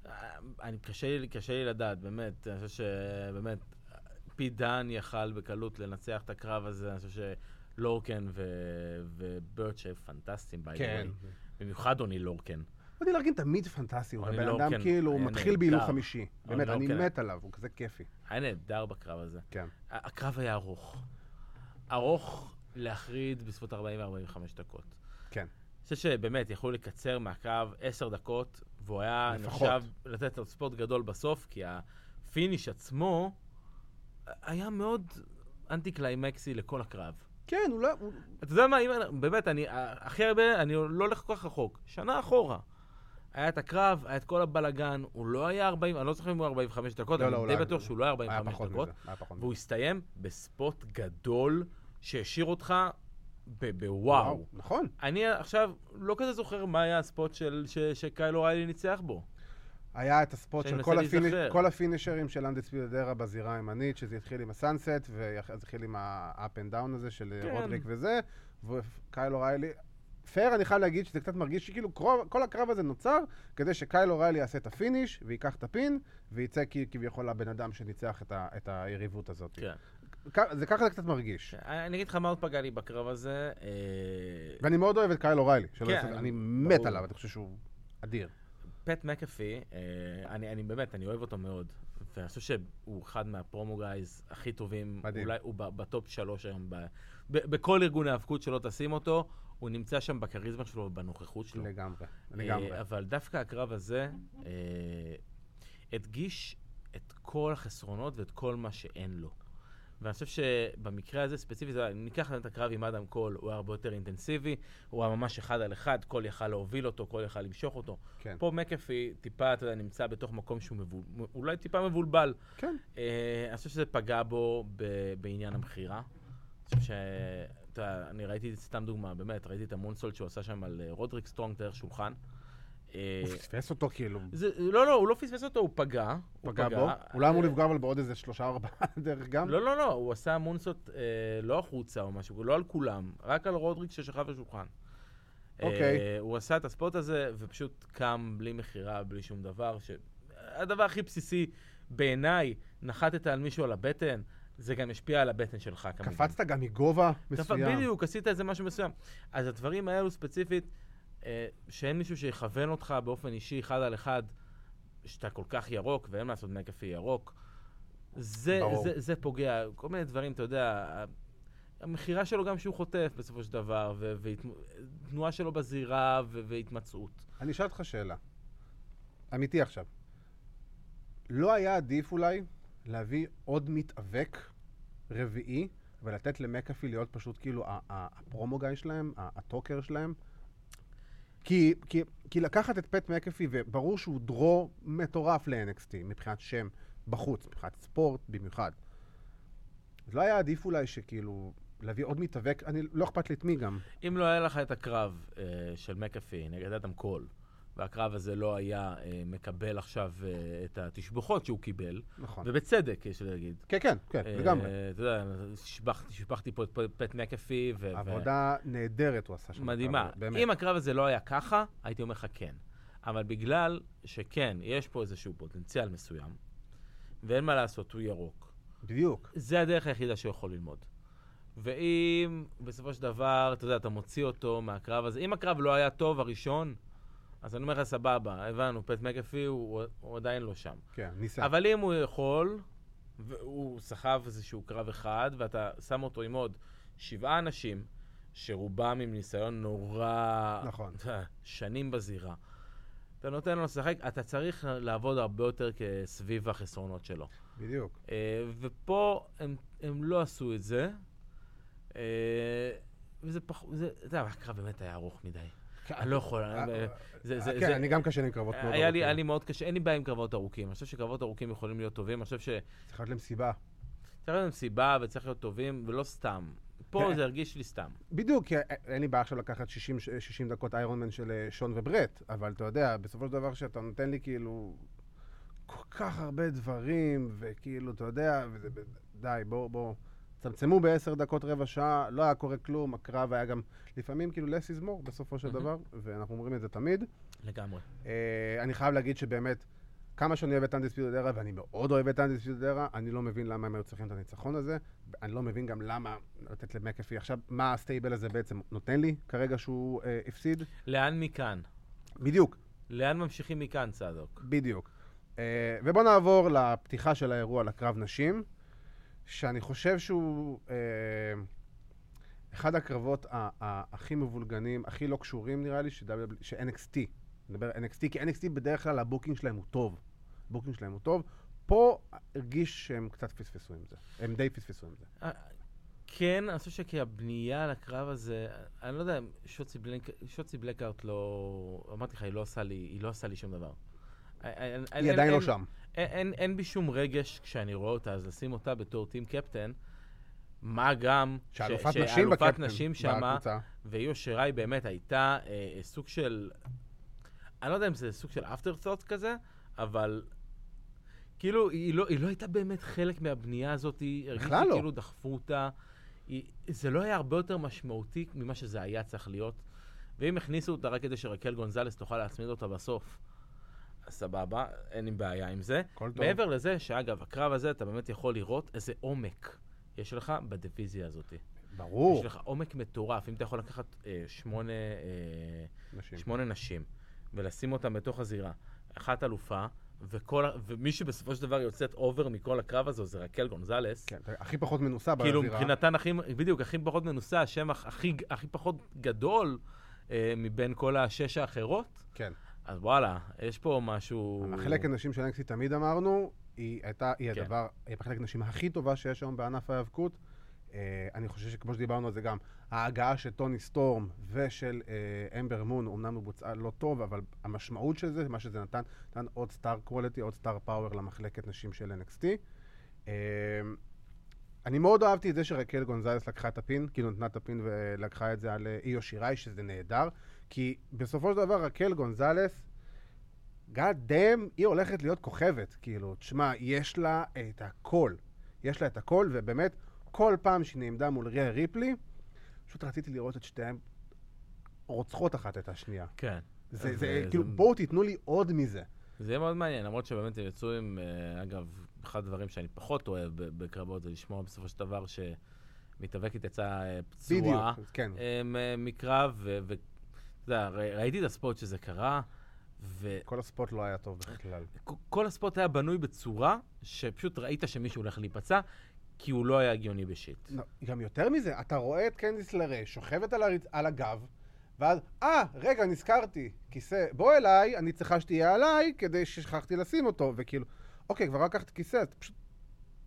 Speaker 2: אה, אני, קשה, לי, קשה לי לדעת, באמת. אני חושב שבאמת, פי דן יכל בקלות לנצח את הקרב הזה. אני חושב שלורקן ו... ובירט שהם פנטסטיים by the
Speaker 1: כן.
Speaker 2: way. במיוחד אוני לורקן.
Speaker 1: רודי לארגן תמיד פנטסטי, הוא
Speaker 2: אני
Speaker 1: הבן
Speaker 2: לא,
Speaker 1: אדם
Speaker 2: כן,
Speaker 1: כאילו, הוא
Speaker 2: אני
Speaker 1: מתחיל
Speaker 2: נהדר.
Speaker 1: בהילוך חמישי.
Speaker 2: אני
Speaker 1: באמת,
Speaker 2: לא,
Speaker 1: אני
Speaker 2: כן.
Speaker 1: מת עליו, הוא כזה כיפי.
Speaker 2: היה נהדר בקרב הזה.
Speaker 1: כן.
Speaker 2: ה- הקרב היה ארוך. ארוך להחריד בסביבות 40-45 דקות.
Speaker 1: כן.
Speaker 2: אני חושב שבאמת יכלו לקצר מהקרב 10 דקות, והוא היה
Speaker 1: לפחות.
Speaker 2: נחשב לתת לו ספורט גדול בסוף, כי הפיניש עצמו היה מאוד אנטי קליימקסי לכל הקרב.
Speaker 1: כן, הוא לא... הוא-
Speaker 2: אתה יודע מה, אם, באמת, אני, הכי הרבה, אני לא הולך כל כך רחוק, שנה אחורה. היה את הקרב, היה את כל הבלגן, הוא לא היה 40, אני לא זוכר אם הוא 45 דקות,
Speaker 1: לא,
Speaker 2: אני
Speaker 1: לא, הוא
Speaker 2: די
Speaker 1: לא היה-
Speaker 2: בטוח שהוא לא היה
Speaker 1: היה
Speaker 2: 45
Speaker 1: פחות
Speaker 2: דקות.
Speaker 1: מזה. היה פחות מזה.
Speaker 2: והוא הסתיים בספוט גדול שהשאיר אותך ב-
Speaker 1: וואו,
Speaker 2: בוואו.
Speaker 1: נכון.
Speaker 2: אני עכשיו לא כזה זוכר מה היה הספוט של, ש, שקיילו אוריילי ניצח בו.
Speaker 1: היה את הספוט
Speaker 2: שאני
Speaker 1: של
Speaker 2: מנסה
Speaker 1: כל, הפיניש,
Speaker 2: להיזכר.
Speaker 1: כל הפינישרים של אנדספיד אדרה בזירה הימנית, שזה התחיל עם הסאנסט, ואז התחיל עם ה-up and down הזה של
Speaker 2: כן.
Speaker 1: כן. רודריק וזה, וקייל אוריילי... פייר, אני חייב להגיד שזה קצת מרגיש שכאילו קרוב- כל הקרב הזה נוצר כדי שקייל אוריילי יעשה את הפיניש, ויקח את הפין, ויצא כי- כביכול הבן אדם שניצח את, ה, את היריבות הזאת.
Speaker 2: כן.
Speaker 1: כ- זה ככה זה קצת מרגיש.
Speaker 2: אני אגיד לך מה עוד פגע לי בקרב הזה. אה,
Speaker 1: ואני מאוד אוהב את קייל אוריילי, שלא
Speaker 2: כן,
Speaker 1: יעשה-
Speaker 2: אני-
Speaker 1: אני מת
Speaker 2: ברור.
Speaker 1: עליו, אני חושב שהוא אדיר.
Speaker 2: פט מקאפי, אה, אני, אני באמת, אני אוהב אותו מאוד. ואני חושב שהוא אחד מהפרומו גייז הכי טובים.
Speaker 1: מדהים.
Speaker 2: אולי הוא ב- בטופ שלוש היום. ב, ב, בכל ארגון ההאבקות שלא תשים אותו, הוא נמצא שם בכריזמה שלו ובנוכחות שלו.
Speaker 1: לגמרי,
Speaker 2: אה,
Speaker 1: לגמרי.
Speaker 2: אבל דווקא הקרב הזה אה, הדגיש את כל החסרונות ואת כל מה שאין לו. ואני חושב שבמקרה הזה ספציפית, אם ניקח את הקרב עם אדם קול, הוא היה הרבה יותר אינטנסיבי, הוא היה ממש אחד על אחד, קול יכל להוביל אותו, קול יכל למשוך אותו.
Speaker 1: כן.
Speaker 2: פה מקאפי טיפה, אתה יודע, נמצא בתוך מקום שהוא מבול... אולי טיפה מבולבל.
Speaker 1: כן.
Speaker 2: אה, אני חושב שזה פגע בו ב- בעניין המכירה. אני חושב ש... אתה יודע, אני ראיתי, סתם דוגמה, באמת, ראיתי את המונסולט שהוא עשה שם על אה, רודריק סטרונג דרך שולחן. אה,
Speaker 1: הוא פספס אותו כאילו.
Speaker 2: זה, לא, לא, הוא לא פספס אותו, הוא פגע. הוא
Speaker 1: פגע בו. הוא לא אמור לפגוע אבל בעוד איזה שלושה ארבעה דרך גם.
Speaker 2: לא, לא, לא, הוא עשה מונסות אה, לא החוצה או משהו, לא על כולם, רק על רודריק ששכב בשולחן.
Speaker 1: אוקיי.
Speaker 2: אה, הוא עשה את הספוט הזה ופשוט קם בלי מכירה, בלי שום דבר. ש... הדבר הכי בסיסי בעיניי, נחתת על מישהו על הבטן, זה גם השפיע על הבטן שלך כמובן.
Speaker 1: קפצת גם מגובה
Speaker 2: דווקא
Speaker 1: מסוים.
Speaker 2: נכון, בדיוק, עשית איזה משהו מסוים. אז הדברים האלו ספציפית, אה, שאין מישהו שיכוון אותך באופן אישי, אחד על אחד, שאתה כל כך ירוק, ואין מה לעשות מקאפי ירוק. זה,
Speaker 1: ברור.
Speaker 2: זה, זה פוגע, כל מיני דברים, אתה יודע, ה- המכירה שלו גם שהוא חוטף בסופו של דבר, ותנועה שלו בזירה ו- והתמצאות.
Speaker 1: אני אשאל אותך שאלה. אמיתי עכשיו. לא היה עדיף אולי להביא עוד מתאבק רביעי ולתת למקאפי להיות פשוט כאילו ה- ה- הפרומו גיא שלהם, ה- הטוקר שלהם? כי, כי, כי לקחת את פט מקאפי, וברור שהוא דרו מטורף ל-NXT מבחינת שם בחוץ, מבחינת ספורט במיוחד. אז לא היה עדיף אולי שכאילו להביא עוד מתאבק, אני, לא אכפת לי את מי גם.
Speaker 2: אם לא היה לך את הקרב אה, של מקאפי נגד אדם קול, והקרב הזה לא היה אה, מקבל עכשיו אה, את התשבחות שהוא קיבל,
Speaker 1: נכון.
Speaker 2: ובצדק, יש לי להגיד.
Speaker 1: כן, כן, כן,
Speaker 2: אה,
Speaker 1: לגמרי.
Speaker 2: אתה יודע, שיבח- שיבחתי פה את פ- פט מקאפי, ו...
Speaker 1: עבודה נהדרת הוא עשה
Speaker 2: ו-
Speaker 1: שם.
Speaker 2: מדהימה.
Speaker 1: אבל באמת.
Speaker 2: אם הקרב הזה לא היה ככה, הייתי אומר לך כן. אבל בגלל שכן, יש פה איזשהו פוטנציאל מסוים, ואין מה לעשות, הוא ירוק.
Speaker 1: בדיוק.
Speaker 2: זה הדרך היחידה שהוא יכול ללמוד. ואם בסופו של דבר, אתה יודע, אתה מוציא אותו מהקרב הזה, אם הקרב לא היה טוב הראשון, אז אני אומר לך, סבבה, הבנו, פט מקאפי הוא, הוא עדיין לא שם.
Speaker 1: כן, ניסה.
Speaker 2: אבל אם הוא יכול, והוא סחב איזשהו קרב אחד, ואתה שם אותו עם עוד שבעה אנשים, שרובם עם ניסיון נורא...
Speaker 1: נכון.
Speaker 2: אתה יודע, שנים בזירה. אתה נותן לו לשחק, אתה צריך לעבוד הרבה יותר כ- סביב החסרונות שלו.
Speaker 1: בדיוק.
Speaker 2: אה, ופה הם, הם לא עשו את זה. אה, וזה פחות, זה, אתה יודע, הקרב באמת היה ארוך מדי. אני לא יכול,
Speaker 1: אה,
Speaker 2: אני-
Speaker 1: אה,
Speaker 2: זה, זה,
Speaker 1: כן,
Speaker 2: זה,
Speaker 1: אני גם קשה עם קרבות מאוד
Speaker 2: היה לי, היה
Speaker 1: ארוכים.
Speaker 2: לי מאוד קשה, אין לי בעיה עם קרבות ארוכים. אני חושב שקרבות ארוכים יכולים להיות טובים, אני חושב שצריך
Speaker 1: צריך להיות להם סיבה.
Speaker 2: להיות להם סיבה וצריך להיות טובים, ולא סתם. פה
Speaker 1: כן.
Speaker 2: זה הרגיש לי סתם.
Speaker 1: בדיוק, כי אה, אין לי בעיה עכשיו לקחת 60 ש- 60 דקות איירון מן של אה, שון וברט, אבל אתה יודע, בסופו של דבר שאתה נותן לי כאילו כל כך הרבה דברים, וכאילו, אתה יודע, וזה- די, בואו, בואו. צמצמו בעשר דקות, רבע שעה, לא היה קורה כלום, הקרב היה גם לפעמים כאילו less is more בסופו של
Speaker 2: מהמם.
Speaker 1: דבר, ואנחנו אומרים את זה תמיד.
Speaker 2: לגמרי.
Speaker 1: אה, אני חייב להגיד שבאמת, כמה שאני אוהב את אנדיספיוטד ארה, ואני מאוד אוהב את אנדיספיוטד ארה, אני לא מבין למה הם היו צריכים את הניצחון הזה. אני לא מבין גם למה לתת למקאפי עכשיו, מה הסטייבל הזה בעצם נותן לי כרגע שהוא אה, הפסיד.
Speaker 2: לאן מכאן?
Speaker 1: בדיוק,
Speaker 2: לאן ממשיכים מכאן, צדוק?
Speaker 1: בדיוק. אה, ובואו נעבור לפתיחה של האירוע, לקרב נשים, שאני חושב שהוא אה, אחד הקרבות ה- ה- הכי מבולגנים, הכי לא קשורים נראה לי, ש- WW ש-NXT. נדבר על NXT, כי NXT בדרך כלל הבוקינג שלהם הוא טוב. הבוקינג שלהם הוא טוב. פה הרגיש שהם קצת פספסו עם זה. הם די פספסו עם זה.
Speaker 2: אה, כן, אני חושב שכי הבנייה לקרב הזה, אני לא יודע אם שוצי, בלנק, שוצי בלקארט לא... אמרתי לך, היא לא עושה לי, היא לא עושה לי שום דבר. היא
Speaker 1: היא עדיין לא שם.
Speaker 2: אין, אין, אין בי שום רגש כשאני רואה אותה, אז לשים אותה בתור טים קפטן, מה גם ש-
Speaker 1: שאלופת נשים
Speaker 2: שאלופת
Speaker 1: בקפטן,
Speaker 2: נשים שמה,
Speaker 1: בקבוצה.
Speaker 2: והיא אושרי באמת הייתה אה, סוג של, אני לא יודע אם זה סוג של אפטר סוט כזה, אבל כאילו היא לא, היא לא הייתה באמת חלק מהבנייה הזאת, היא הרגישה
Speaker 1: בכלל לא.
Speaker 2: כאילו דחפו אותה. היא, זה לא היה הרבה יותר משמעותי ממה שזה היה צריך להיות. ואם הכניסו אותה רק כדי שרקל גונזלס תוכל להצמיד אותה בסוף, אז סבבה, אין לי בעיה עם זה.
Speaker 1: הכל טוב.
Speaker 2: מעבר לזה, שאגב, הקרב הזה, אתה באמת יכול לראות איזה עומק יש לך בדיוויזיה הזאת.
Speaker 1: ברור.
Speaker 2: יש לך עומק מטורף. אם אתה יכול לקחת אה, שמונה, אה,
Speaker 1: נשים.
Speaker 2: שמונה נשים ולשים אותן בתוך הזירה, אחת אלופה, וכל, ה- ומי שבסופו של דבר יוצאת אובר מכל הקרב הזה זה רקל גונזלס.
Speaker 1: כן, הכי פחות מנוסה בזירה.
Speaker 2: כאילו מבחינתן הכי, בדיוק, הכי פחות מנוסה, השם הכ- הכי, הכי פחות גדול אה, מבין כל השש האחרות.
Speaker 1: כן.
Speaker 2: אז וואלה, יש פה משהו...
Speaker 1: המחלקת נשים של NXT תמיד אמרנו, היא הייתה, היא
Speaker 2: כן.
Speaker 1: הדבר, היא מחלקת נשים הכי טובה שיש היום בענף ההיאבקות. אה, אני חושב שכמו שדיברנו על זה גם, ההגעה של טוני סטורם ושל אה, אמבר מון אומנם היא בוצעה לא טוב, אבל המשמעות של זה, מה שזה נתן, נתן עוד סטאר קוולטי, עוד סטאר פאוור למחלקת נשים של NXT. אה, אני מאוד אהבתי את זה שרקל גונזלס לקחה את הפין, כאילו נתנה את הפין ולקחה את זה על אה, איו שיראי, שזה נהדר, כי בסופו של דבר רקל גונזלס גאד דאם, היא הולכת להיות כוכבת, כאילו, תשמע, יש לה את הכל. יש לה את הכל, ובאמת, כל פעם שהיא נעמדה מול ריה ריפלי, פשוט רציתי לראות את שתיהן רוצחות אחת את השנייה.
Speaker 2: כן.
Speaker 1: זה,
Speaker 2: זה-
Speaker 1: זה, כאילו,
Speaker 2: זה-
Speaker 1: בואו תיתנו לי עוד מזה.
Speaker 2: זה יהיה מאוד מעניין, למרות שבאמת הם יצאו עם, אה, אגב, אחד הדברים שאני פחות אוהב ב- בקרבות זה לשמוע בסופו של דבר שמתאבקת יצאה אה,
Speaker 1: בדיוק,
Speaker 2: פצועה
Speaker 1: כן.
Speaker 2: אה, מ- מקרב, ואתה יודע, ר- ראיתי את הספוט שזה קרה, וכל
Speaker 1: כל הספוט לא היה טוב בכלל.
Speaker 2: כל הספוט היה בנוי בצורה שפשוט ראית שמישהו הולך להיפצע, כי הוא לא היה הגיוני בשיט.
Speaker 1: לא, גם יותר מזה, אתה רואה את קנדיס לרי שוכבת על, הרצ... על הגב, ואז, אה, רגע, נזכרתי, כיסא, בוא אליי, אני צריכה שתהיה עליי, כדי ששכחתי לשים אותו, וכאילו, אוקיי, כבר לקחת כיסא, אז פשוט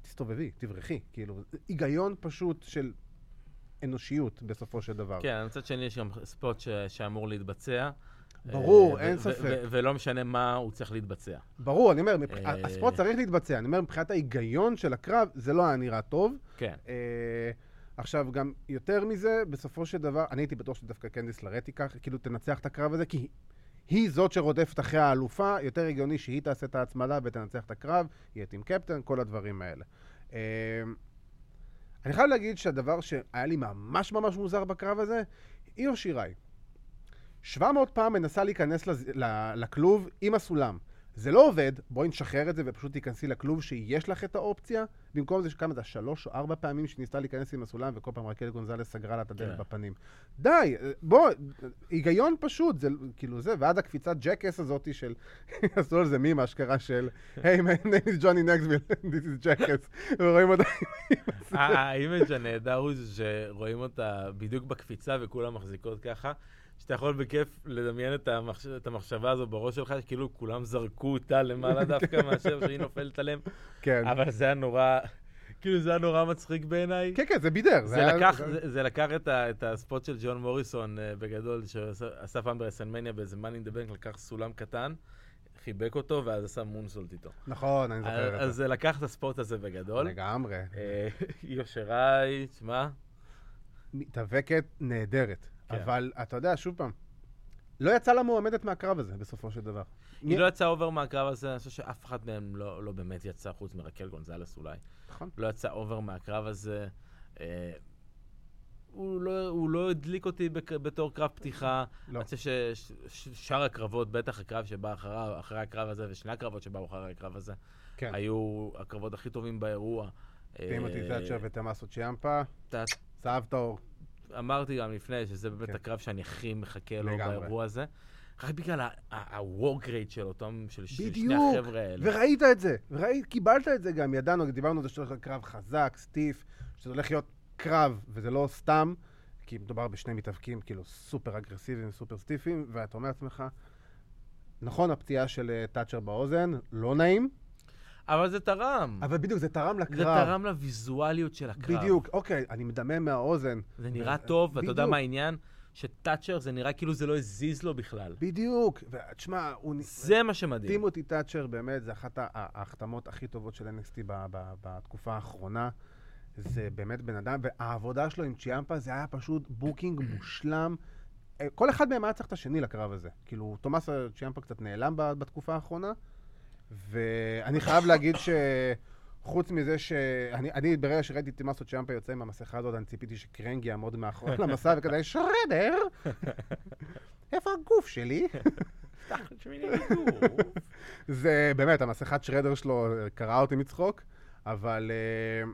Speaker 1: תסתובבי, תברחי, כאילו, זה היגיון פשוט של אנושיות בסופו של דבר.
Speaker 2: כן, מצד שני יש גם ספוט ש- שאמור להתבצע.
Speaker 1: ברור,
Speaker 2: אה,
Speaker 1: אין
Speaker 2: ו- ו-
Speaker 1: ספק.
Speaker 2: ו- ולא משנה מה הוא צריך להתבצע.
Speaker 1: ברור, אני אומר, מבח...
Speaker 2: אה,
Speaker 1: הספורט צריך להתבצע, אני אומר, מבחינת ההיגיון של הקרב, זה לא היה נראה טוב.
Speaker 2: כן.
Speaker 1: אה, עכשיו, גם יותר מזה, בסופו של דבר, אני הייתי בטוח שדווקא קנדיס לרט תיקח, כאילו תנצח את הקרב הזה, כי היא- היא זאת שרודפת אחרי האלופה, יותר הגיוני שהיא תעשה את ההצמדה ותנצח את הקרב, יהיה טים קפטן, כל הדברים האלה. אה, אני חייב להגיד שהדבר שהיה לי ממש ממש מוזר בקרב הזה, היא או שיראי. 700 פעם מנסה להיכנס לז... ל- לכלוב עם הסולם. זה לא עובד, בואי נשחרר את זה ופשוט תיכנסי לכלוב שיש לך את האופציה. במקום זה שכמה זה, שלוש או ארבע פעמים שניסתה להיכנס עם הסולם, וכל פעם רקל גונזלס סגרה לה את הדלת
Speaker 2: כן.
Speaker 1: בפנים. די, בוא, היגיון פשוט, זה כאילו זה, ועד הקפיצת ג'קס הזאתי של, עשו על זה מימה, אשכרה של, היי, my name is Johnny Nexville, this is ג'קס, ורואים אותה
Speaker 2: האימג' הנהדר הוא זה שרואים אותה בדיוק בקפיצה וכולם מחזיקות ככה, שאתה יכול בכיף לדמיין את, המחש... את המחשבה הזו בראש שלך, כאילו כולם זרקו אותה למעלה דווקא מאשר שהיא נופלת עליהם,
Speaker 1: כן.
Speaker 2: אבל זה היה נורא, כאילו זה היה נורא מצחיק בעיניי.
Speaker 1: כן, כן, זה בידר.
Speaker 2: זה,
Speaker 1: היה-
Speaker 2: לקח, זה, זה לקח את, ה, את הספוט של ג'ון מוריסון אה, בגדול, שאסף אמברסנמניה באיזה money in the bank, לקח סולם קטן, חיבק אותו, ואז עשה מונסולט איתו.
Speaker 1: נכון, אני זוכר
Speaker 2: אז,
Speaker 1: את
Speaker 2: אז
Speaker 1: זה.
Speaker 2: זה לקח את הספוט הזה בגדול.
Speaker 1: לגמרי.
Speaker 2: אה, יושריי, תשמע,
Speaker 1: מתאבקת נהדרת.
Speaker 2: כן.
Speaker 1: אבל אתה יודע, שוב פעם, לא יצא לה מועמדת מהקרב הזה, בסופו של דבר.
Speaker 2: היא לא יצאה אובר מהקרב הזה, אני חושב שאף אחת מהן לא, לא באמת יצאה, חוץ מרקל גונזלס אולי.
Speaker 1: נכון.
Speaker 2: לא יצא אובר מהקרב הזה. אה, הוא לא, הוא לא הדליק אותי בק, בתור קרב פתיחה.
Speaker 1: לא.
Speaker 2: אני חושב ששאר הקרבות, בטח הקרב שבא אחריו, אחרי הקרב הזה, ושני הקרבות שבאו אחרי הקרב הזה,
Speaker 1: כן.
Speaker 2: היו הקרבות הכי טובים באירוע. אה,
Speaker 1: טימותי תאצ'ר ותמאסו צ'יאמפה,
Speaker 2: אתה-
Speaker 1: צהב טהור.
Speaker 2: אמרתי גם לפני שזה באמת
Speaker 1: כן.
Speaker 2: הקרב שאני הכי מחכה לו
Speaker 1: לגמרי.
Speaker 2: באירוע הזה. רק בגלל ה-work rate של אותם, של של שני
Speaker 1: בדיוק.
Speaker 2: החבר'ה האלה.
Speaker 1: וראית את זה, וראית, קיבלת את זה גם, ידענו, דיברנו על זה שהולך להיות קרב חזק, סטיף, שזה הולך להיות קרב, וזה לא סתם, כי מדובר בשני מתאבקים כאילו סופר אגרסיביים, סופר סטיפים, ואתה אומר לעצמך, נכון, הפציעה של אה, תאצ'ר באוזן, לא נעים,
Speaker 2: אבל זה תרם.
Speaker 1: אבל בדיוק, זה תרם לקרב.
Speaker 2: Mm. זה תרם לוויזואליות של הקרב.
Speaker 1: בדיוק, אוקיי, אני מדמם מהאוזן.
Speaker 2: זה נראה טוב, ואתה יודע
Speaker 1: בדיוק.
Speaker 2: מה העניין? שטאצ'ר זה נראה כאילו זה לא הזיז לו בכלל.
Speaker 1: בדיוק, ותשמע, הוא... נ-
Speaker 2: זה מה שמדהים.
Speaker 1: טימותי תאצ'ר באמת, זה אחת ה- ההחתמות הכי טובות של NXT ב- ב- בתקופה האחרונה. זה באמת בן אדם, והעבודה שלו עם צ'יאמפה זה היה פשוט בוקינג מושלם. אה, כל אחד מהם היה צריך את השני לקרב הזה. כאילו, תומאס צ'יאמפה קצת נעלם ב- בתקופה האחרונה, ואני חייב להגיד שחוץ מזה ש... אני, אני ברגע שראיתי את תומאס צ'יאמפה יוצא עם המסכה הזאת, אני ציפיתי שקרנג יעמוד מאחורי המסע וכזה, שרדר! איפה הגוף שלי? זה באמת, המסכת שרדר שלו קרעה אותי מצחוק, אבל אה,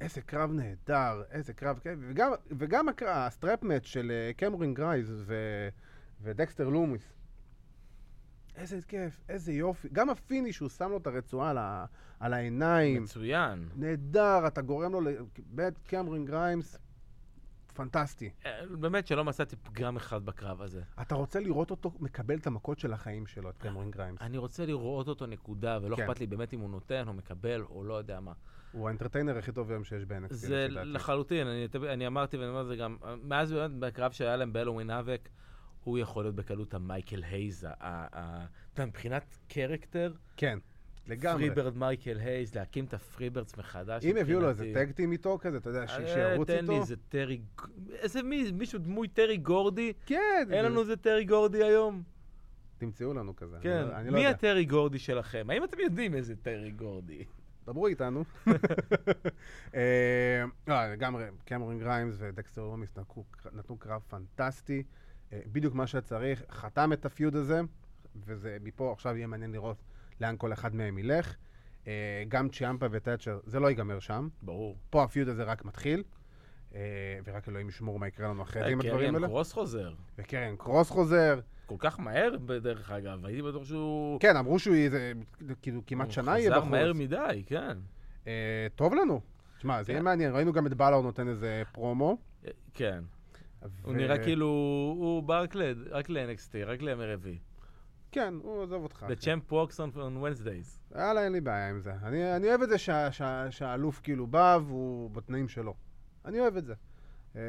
Speaker 1: איזה קרב נהדר, איזה קרב כיף, וגם, וגם הקרב, הסטרפ-מאט של אה, קמרון גרייז ו, ודקסטר לומיס. איזה כיף, איזה יופי. גם הפיניש, הוא שם לו את הרצועה על, ה, על העיניים.
Speaker 2: מצוין.
Speaker 1: נהדר, אתה גורם לו, ל- באמת, קמרון גריימס, פנטסטי.
Speaker 2: אה, באמת שלא מצאתי פגם אחד בקרב הזה.
Speaker 1: אתה רוצה לראות אותו מקבל את המכות של החיים שלו, את קמרון גריימס.
Speaker 2: אה, אני רוצה לראות אותו נקודה, ולא
Speaker 1: כן.
Speaker 2: אכפת לי באמת אם הוא נותן או מקבל או לא יודע מה.
Speaker 1: הוא האנטרטיינר הכי טוב היום שיש ב-NXT,
Speaker 2: זה
Speaker 1: לפי דעתי.
Speaker 2: לחלוטין, אני, אני אמרתי ואני אומר את זה גם, אה, מאז באמת בקרב שהיה להם בהלווין האבק, הוא יכול להיות בקלות המייקל הייז, ה- ה- אתה יודע, מבחינת קרקטר,
Speaker 1: כן, לגמרי.
Speaker 2: פריברד מייקל הייז, להקים את הפריברדס מחדש.
Speaker 1: אם יביאו לו איזה
Speaker 2: מבחינתי.
Speaker 1: טג טים איתו כזה, אתה יודע, ש- שירוץ
Speaker 2: אה, תן לי
Speaker 1: איתו.
Speaker 2: איזה טרי, ג- איזה מי- מישהו דמוי טרי גורדי,
Speaker 1: כן,
Speaker 2: אין לנו איזה טרי גורדי היום.
Speaker 1: תמצאו לנו כזה. אני
Speaker 2: כן,
Speaker 1: לא- אני לא
Speaker 2: מי
Speaker 1: יודע.
Speaker 2: הטרי גורדי שלכם? האם אתם יודעים איזה טרי גורדי?
Speaker 1: דברו איתנו. אה, לא, לגמרי, קמרון גריימס ודקסטר לומיס נתנו- נתנו קרב פנטסטי, אה, בדיוק מה שצריך, חתם את הפיוד הזה, וזה מפה עכשיו יהיה מעניין לראות לאן כל אחד מהם ילך. אה, גם צ'יאמפה וטאצ'ר, זה לא ייגמר שם.
Speaker 2: ברור.
Speaker 1: פה הפיוד הזה רק מתחיל, אה, ורק אלוהים ישמור מה יקרה לנו אחרי זה
Speaker 2: אה,
Speaker 1: עם הדברים האלה.
Speaker 2: קריאן קרוס חוזר.
Speaker 1: וקרן קרוס חוזר.
Speaker 2: כל כך מהר, דרך אגב, הייתי בטוח שהוא...
Speaker 1: כן, אמרו שהוא יהיה, זה, כאילו, כמעט
Speaker 2: הוא
Speaker 1: שנה יהיה בחוץ.
Speaker 2: חזר מהר מדי, כן.
Speaker 1: אה, טוב לנו. תשמע, זה
Speaker 2: כן.
Speaker 1: יהיה מעניין, ראינו גם את בלאור נותן איזה פרומו.
Speaker 2: אה, כן. הוא
Speaker 1: ו-
Speaker 2: נראה כאילו, הוא ברקלד, רק ל-NXT, רק לימי רביעי.
Speaker 1: כן, הוא עוזב אותך.
Speaker 2: The champ walks on on Wednesdays.
Speaker 1: יאללה, אין לי בעיה עם זה. אני, אני אוהב את זה שה, שה, שהאלוף כאילו בא והוא בתנאים שלו. אני אוהב את זה. אה,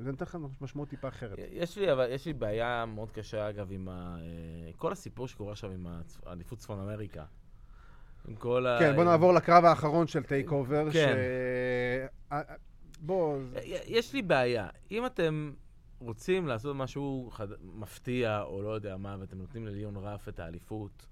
Speaker 1: זה נותן לך משמעות טיפה אחרת.
Speaker 2: יש לי, אבל, יש לי בעיה מאוד קשה, אגב, עם ה... אה, כל הסיפור שקורה עכשיו עם הצ- האליפות צפון אמריקה. עם כל ה...
Speaker 1: כן, בוא נעבור לקרב האחרון של טייק אובר.
Speaker 2: אה, כן.
Speaker 1: אה, בוא,
Speaker 2: אה, יש לי בעיה. אם אתם רוצים לעשות משהו חד... מפתיע, או לא יודע מה, ואתם נותנים לליון רף את האליפות,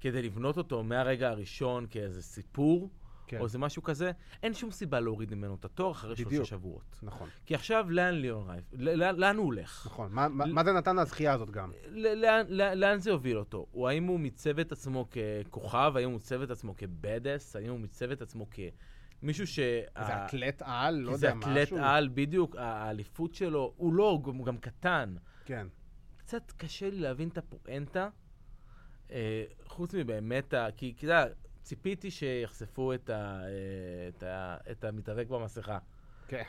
Speaker 2: כדי לבנות אותו מהרגע הראשון כאיזה סיפור,
Speaker 1: כן,
Speaker 2: או איזה משהו כזה, אין שום סיבה להוריד ממנו את התואר אחרי שלושה
Speaker 1: בדיוק.
Speaker 2: שבועות.
Speaker 1: נכון,
Speaker 2: כי עכשיו, לאן ליאון רייף? ל- לאן לאן הוא הולך?
Speaker 1: נכון. מה- מה מה זה נתן לזכייה הזאת גם?
Speaker 2: ל- לאן, לאן, לאן זה יוביל אותו? או האם הוא מיצב את עצמו ככוכב? האם הוא מיצב את עצמו כבדס? האם הוא מיצב את עצמו כמישהו ש...
Speaker 1: זה אתלט על, לא
Speaker 2: אה, כי זה
Speaker 1: יודע
Speaker 2: אתלט
Speaker 1: משהו.
Speaker 2: על, בדיוק, ה- האליפות שלו, הוא לא, הוא גם- הוא גם קטן.
Speaker 1: כן.
Speaker 2: קצת קשה לי להבין את הפואנטה, אה, חוץ מבאמת, ה- כי אתה יודע, ציפיתי שיחשפו את, ה, אה, את, ה, את המתאבק במסכה.
Speaker 1: כן.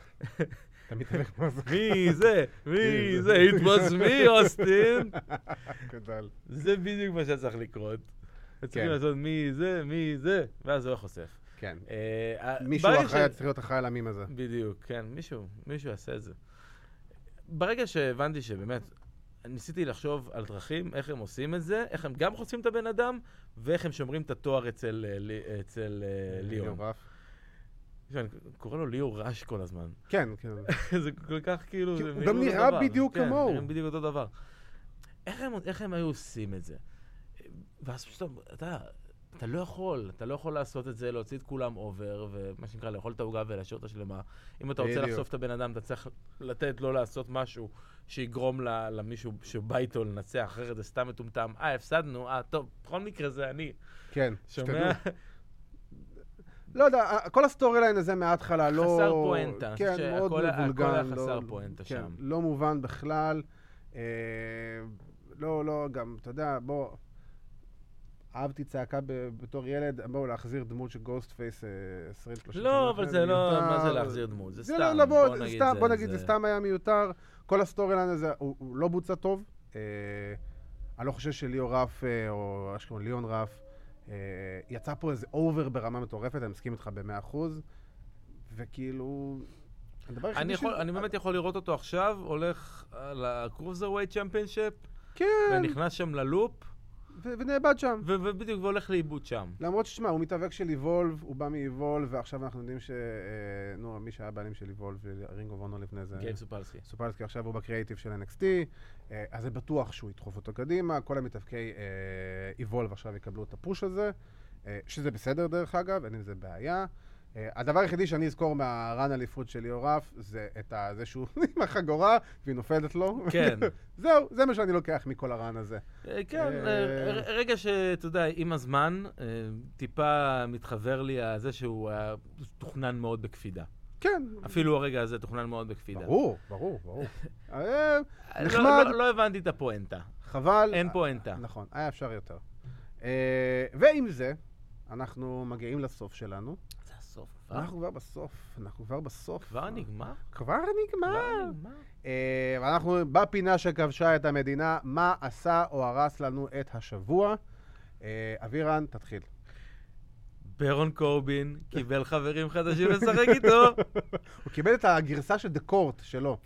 Speaker 1: אתה מתאבק בזה.
Speaker 2: מי זה? מי זה? It was me, אוסטין.
Speaker 1: גדל.
Speaker 2: זה בדיוק מה שהיה צריך לקרות. צריכים
Speaker 1: כן.
Speaker 2: לעשות מי זה, מי זה, ואז הוא היה חושף.
Speaker 1: כן.
Speaker 2: אה, ה-
Speaker 1: מישהו
Speaker 2: ברגע
Speaker 1: אחראי,
Speaker 2: ש-
Speaker 1: צריך להיות אחראי על המים הזה.
Speaker 2: בדיוק, כן, מישהו, מישהו יעשה את זה. ברגע שהבנתי שבאמת, ניסיתי לחשוב על דרכים, איך הם עושים את זה, איך הם גם חושפים את הבן אדם, ואיך הם שומרים את התואר אצל, אה, לי- אצל אה, ליאון.
Speaker 1: רף.
Speaker 2: עכשיו, אני קורא לו ליאור רש כל הזמן.
Speaker 1: כן, כן.
Speaker 2: זה כל כך כאילו...
Speaker 1: כי
Speaker 2: זה
Speaker 1: הוא
Speaker 2: בדיוק
Speaker 1: גם
Speaker 2: אותו
Speaker 1: נראה
Speaker 2: דבר.
Speaker 1: בדיוק
Speaker 2: כן,
Speaker 1: כמוהו.
Speaker 2: נראה בדיוק אותו דבר. איך הם, איך הם היו עושים את זה? ואז פשוט, אתה, אתה לא יכול, אתה לא יכול לעשות את זה, להוציא את כולם אובר, ומה שנקרא, לאכול את העוגה ולהשאיר אותה שלמה. אם אתה רוצה
Speaker 1: בדיוק.
Speaker 2: לחשוף את הבן אדם, אתה צריך לתת לו לעשות משהו שיגרום ל, למישהו שבא איתו לנצח, אחרת זה סתם מטומטם. אה, הפסדנו, אה, טוב, בכל מקרה זה אני.
Speaker 1: כן, שתדעו.
Speaker 2: שומע?
Speaker 1: לא יודע, ה- כל הסטורי ליין הזה מההתחלה לא...
Speaker 2: חסר פואנטה.
Speaker 1: כן,
Speaker 2: שהכל-
Speaker 1: מאוד
Speaker 2: הכל היה
Speaker 1: מבולגן.
Speaker 2: חסר
Speaker 1: לא-
Speaker 2: פואנטה
Speaker 1: כן,
Speaker 2: שם.
Speaker 1: לא מובן בכלל. אה, לא, לא, גם, אתה יודע, בוא... אהבתי צעקה ב- בתור ילד, בואו להחזיר דמות של אה, גוסט פייס 20 30
Speaker 2: לא, אבל זה לא, מה זה להחזיר דמות? זה
Speaker 1: זה לא,
Speaker 2: סתם,
Speaker 1: לא, בוא,
Speaker 2: בוא נגיד
Speaker 1: סתם,
Speaker 2: זה-
Speaker 1: בוא נגיד, זה
Speaker 2: זה-
Speaker 1: סתם היה מיותר. כל הסטורי ליין הזה, הוא הוא לא בוצע טוב. אה, אני לא חושב שליאור רף, אה, או אשכנון ליאון רף, אה, יצא פה איזה אובר ברמה מטורפת, אני מסכים איתך במאה אחוז. וכאילו... הדבר היחידי
Speaker 2: אני, יכול,
Speaker 1: ש-
Speaker 2: אני באמת יכול לראות אותו עכשיו, הולך לקרוזר ווייט צ'מפיונשיפ,
Speaker 1: כן,
Speaker 2: ונכנס שם ללופ,
Speaker 1: ו- ונאבד שם.
Speaker 2: ו- ובדיוק, והולך לאיבוד שם.
Speaker 1: למרות ששמע, הוא מתאבק של איבולב, הוא בא מאיבולב, ועכשיו אנחנו יודעים ש... אה, נו, מי שהיה בעלים של איבולב, רינג אוף אונר לפני זה.
Speaker 2: גייב סופלסקי.
Speaker 1: סופלסקי עכשיו הוא בקריאיטיב של NXT, אה, אז זה בטוח שהוא ידחוף אותו קדימה, כל המתאבקי איבולב עכשיו יקבלו את הפוש הזה, אה, שזה בסדר דרך אגב, אין עם זה בעיה. אה, הדבר היחידי שאני אזכור מהרן אליפות של ליאור רף, זה את ה- זה שהוא עם החגורה, והיא נופלת לו.
Speaker 2: כן.
Speaker 1: זהו, זה מה שאני לוקח מכל הרן הזה.
Speaker 2: אה, כן,
Speaker 1: אה,
Speaker 2: אה, ר- רגע שאתה יודע, עם הזמן, אה, טיפה מתחבר לי זה שהוא היה תוכנן מאוד בקפידה.
Speaker 1: כן,
Speaker 2: אפילו הרגע הזה תוכנן מאוד בקפידה.
Speaker 1: ברור, ברור, ברור. אה,
Speaker 2: אה, לא-
Speaker 1: נחמד.
Speaker 2: לא- לא הבנתי את הפואנטה.
Speaker 1: חבל.
Speaker 2: אין פואנטה.
Speaker 1: נכון, היה אה, אפשר יותר. אה, ועם זה, אנחנו מגיעים לסוף שלנו.
Speaker 2: זה בסוף. כבר?
Speaker 1: אנחנו כבר בסוף, אנחנו כבר בסוף.
Speaker 2: כבר נגמר?
Speaker 1: כבר נגמר.
Speaker 2: כבר נגמר?
Speaker 1: אה, ואנחנו בפינה שכבשה את המדינה, מה עשה או הרס לנו את השבוע. אה, אבירן, תתחיל.
Speaker 2: ברון קורבין קיבל חברים חדשים לשחק איתו.
Speaker 1: הוא קיבל את הגרסה של דה קורט שלו.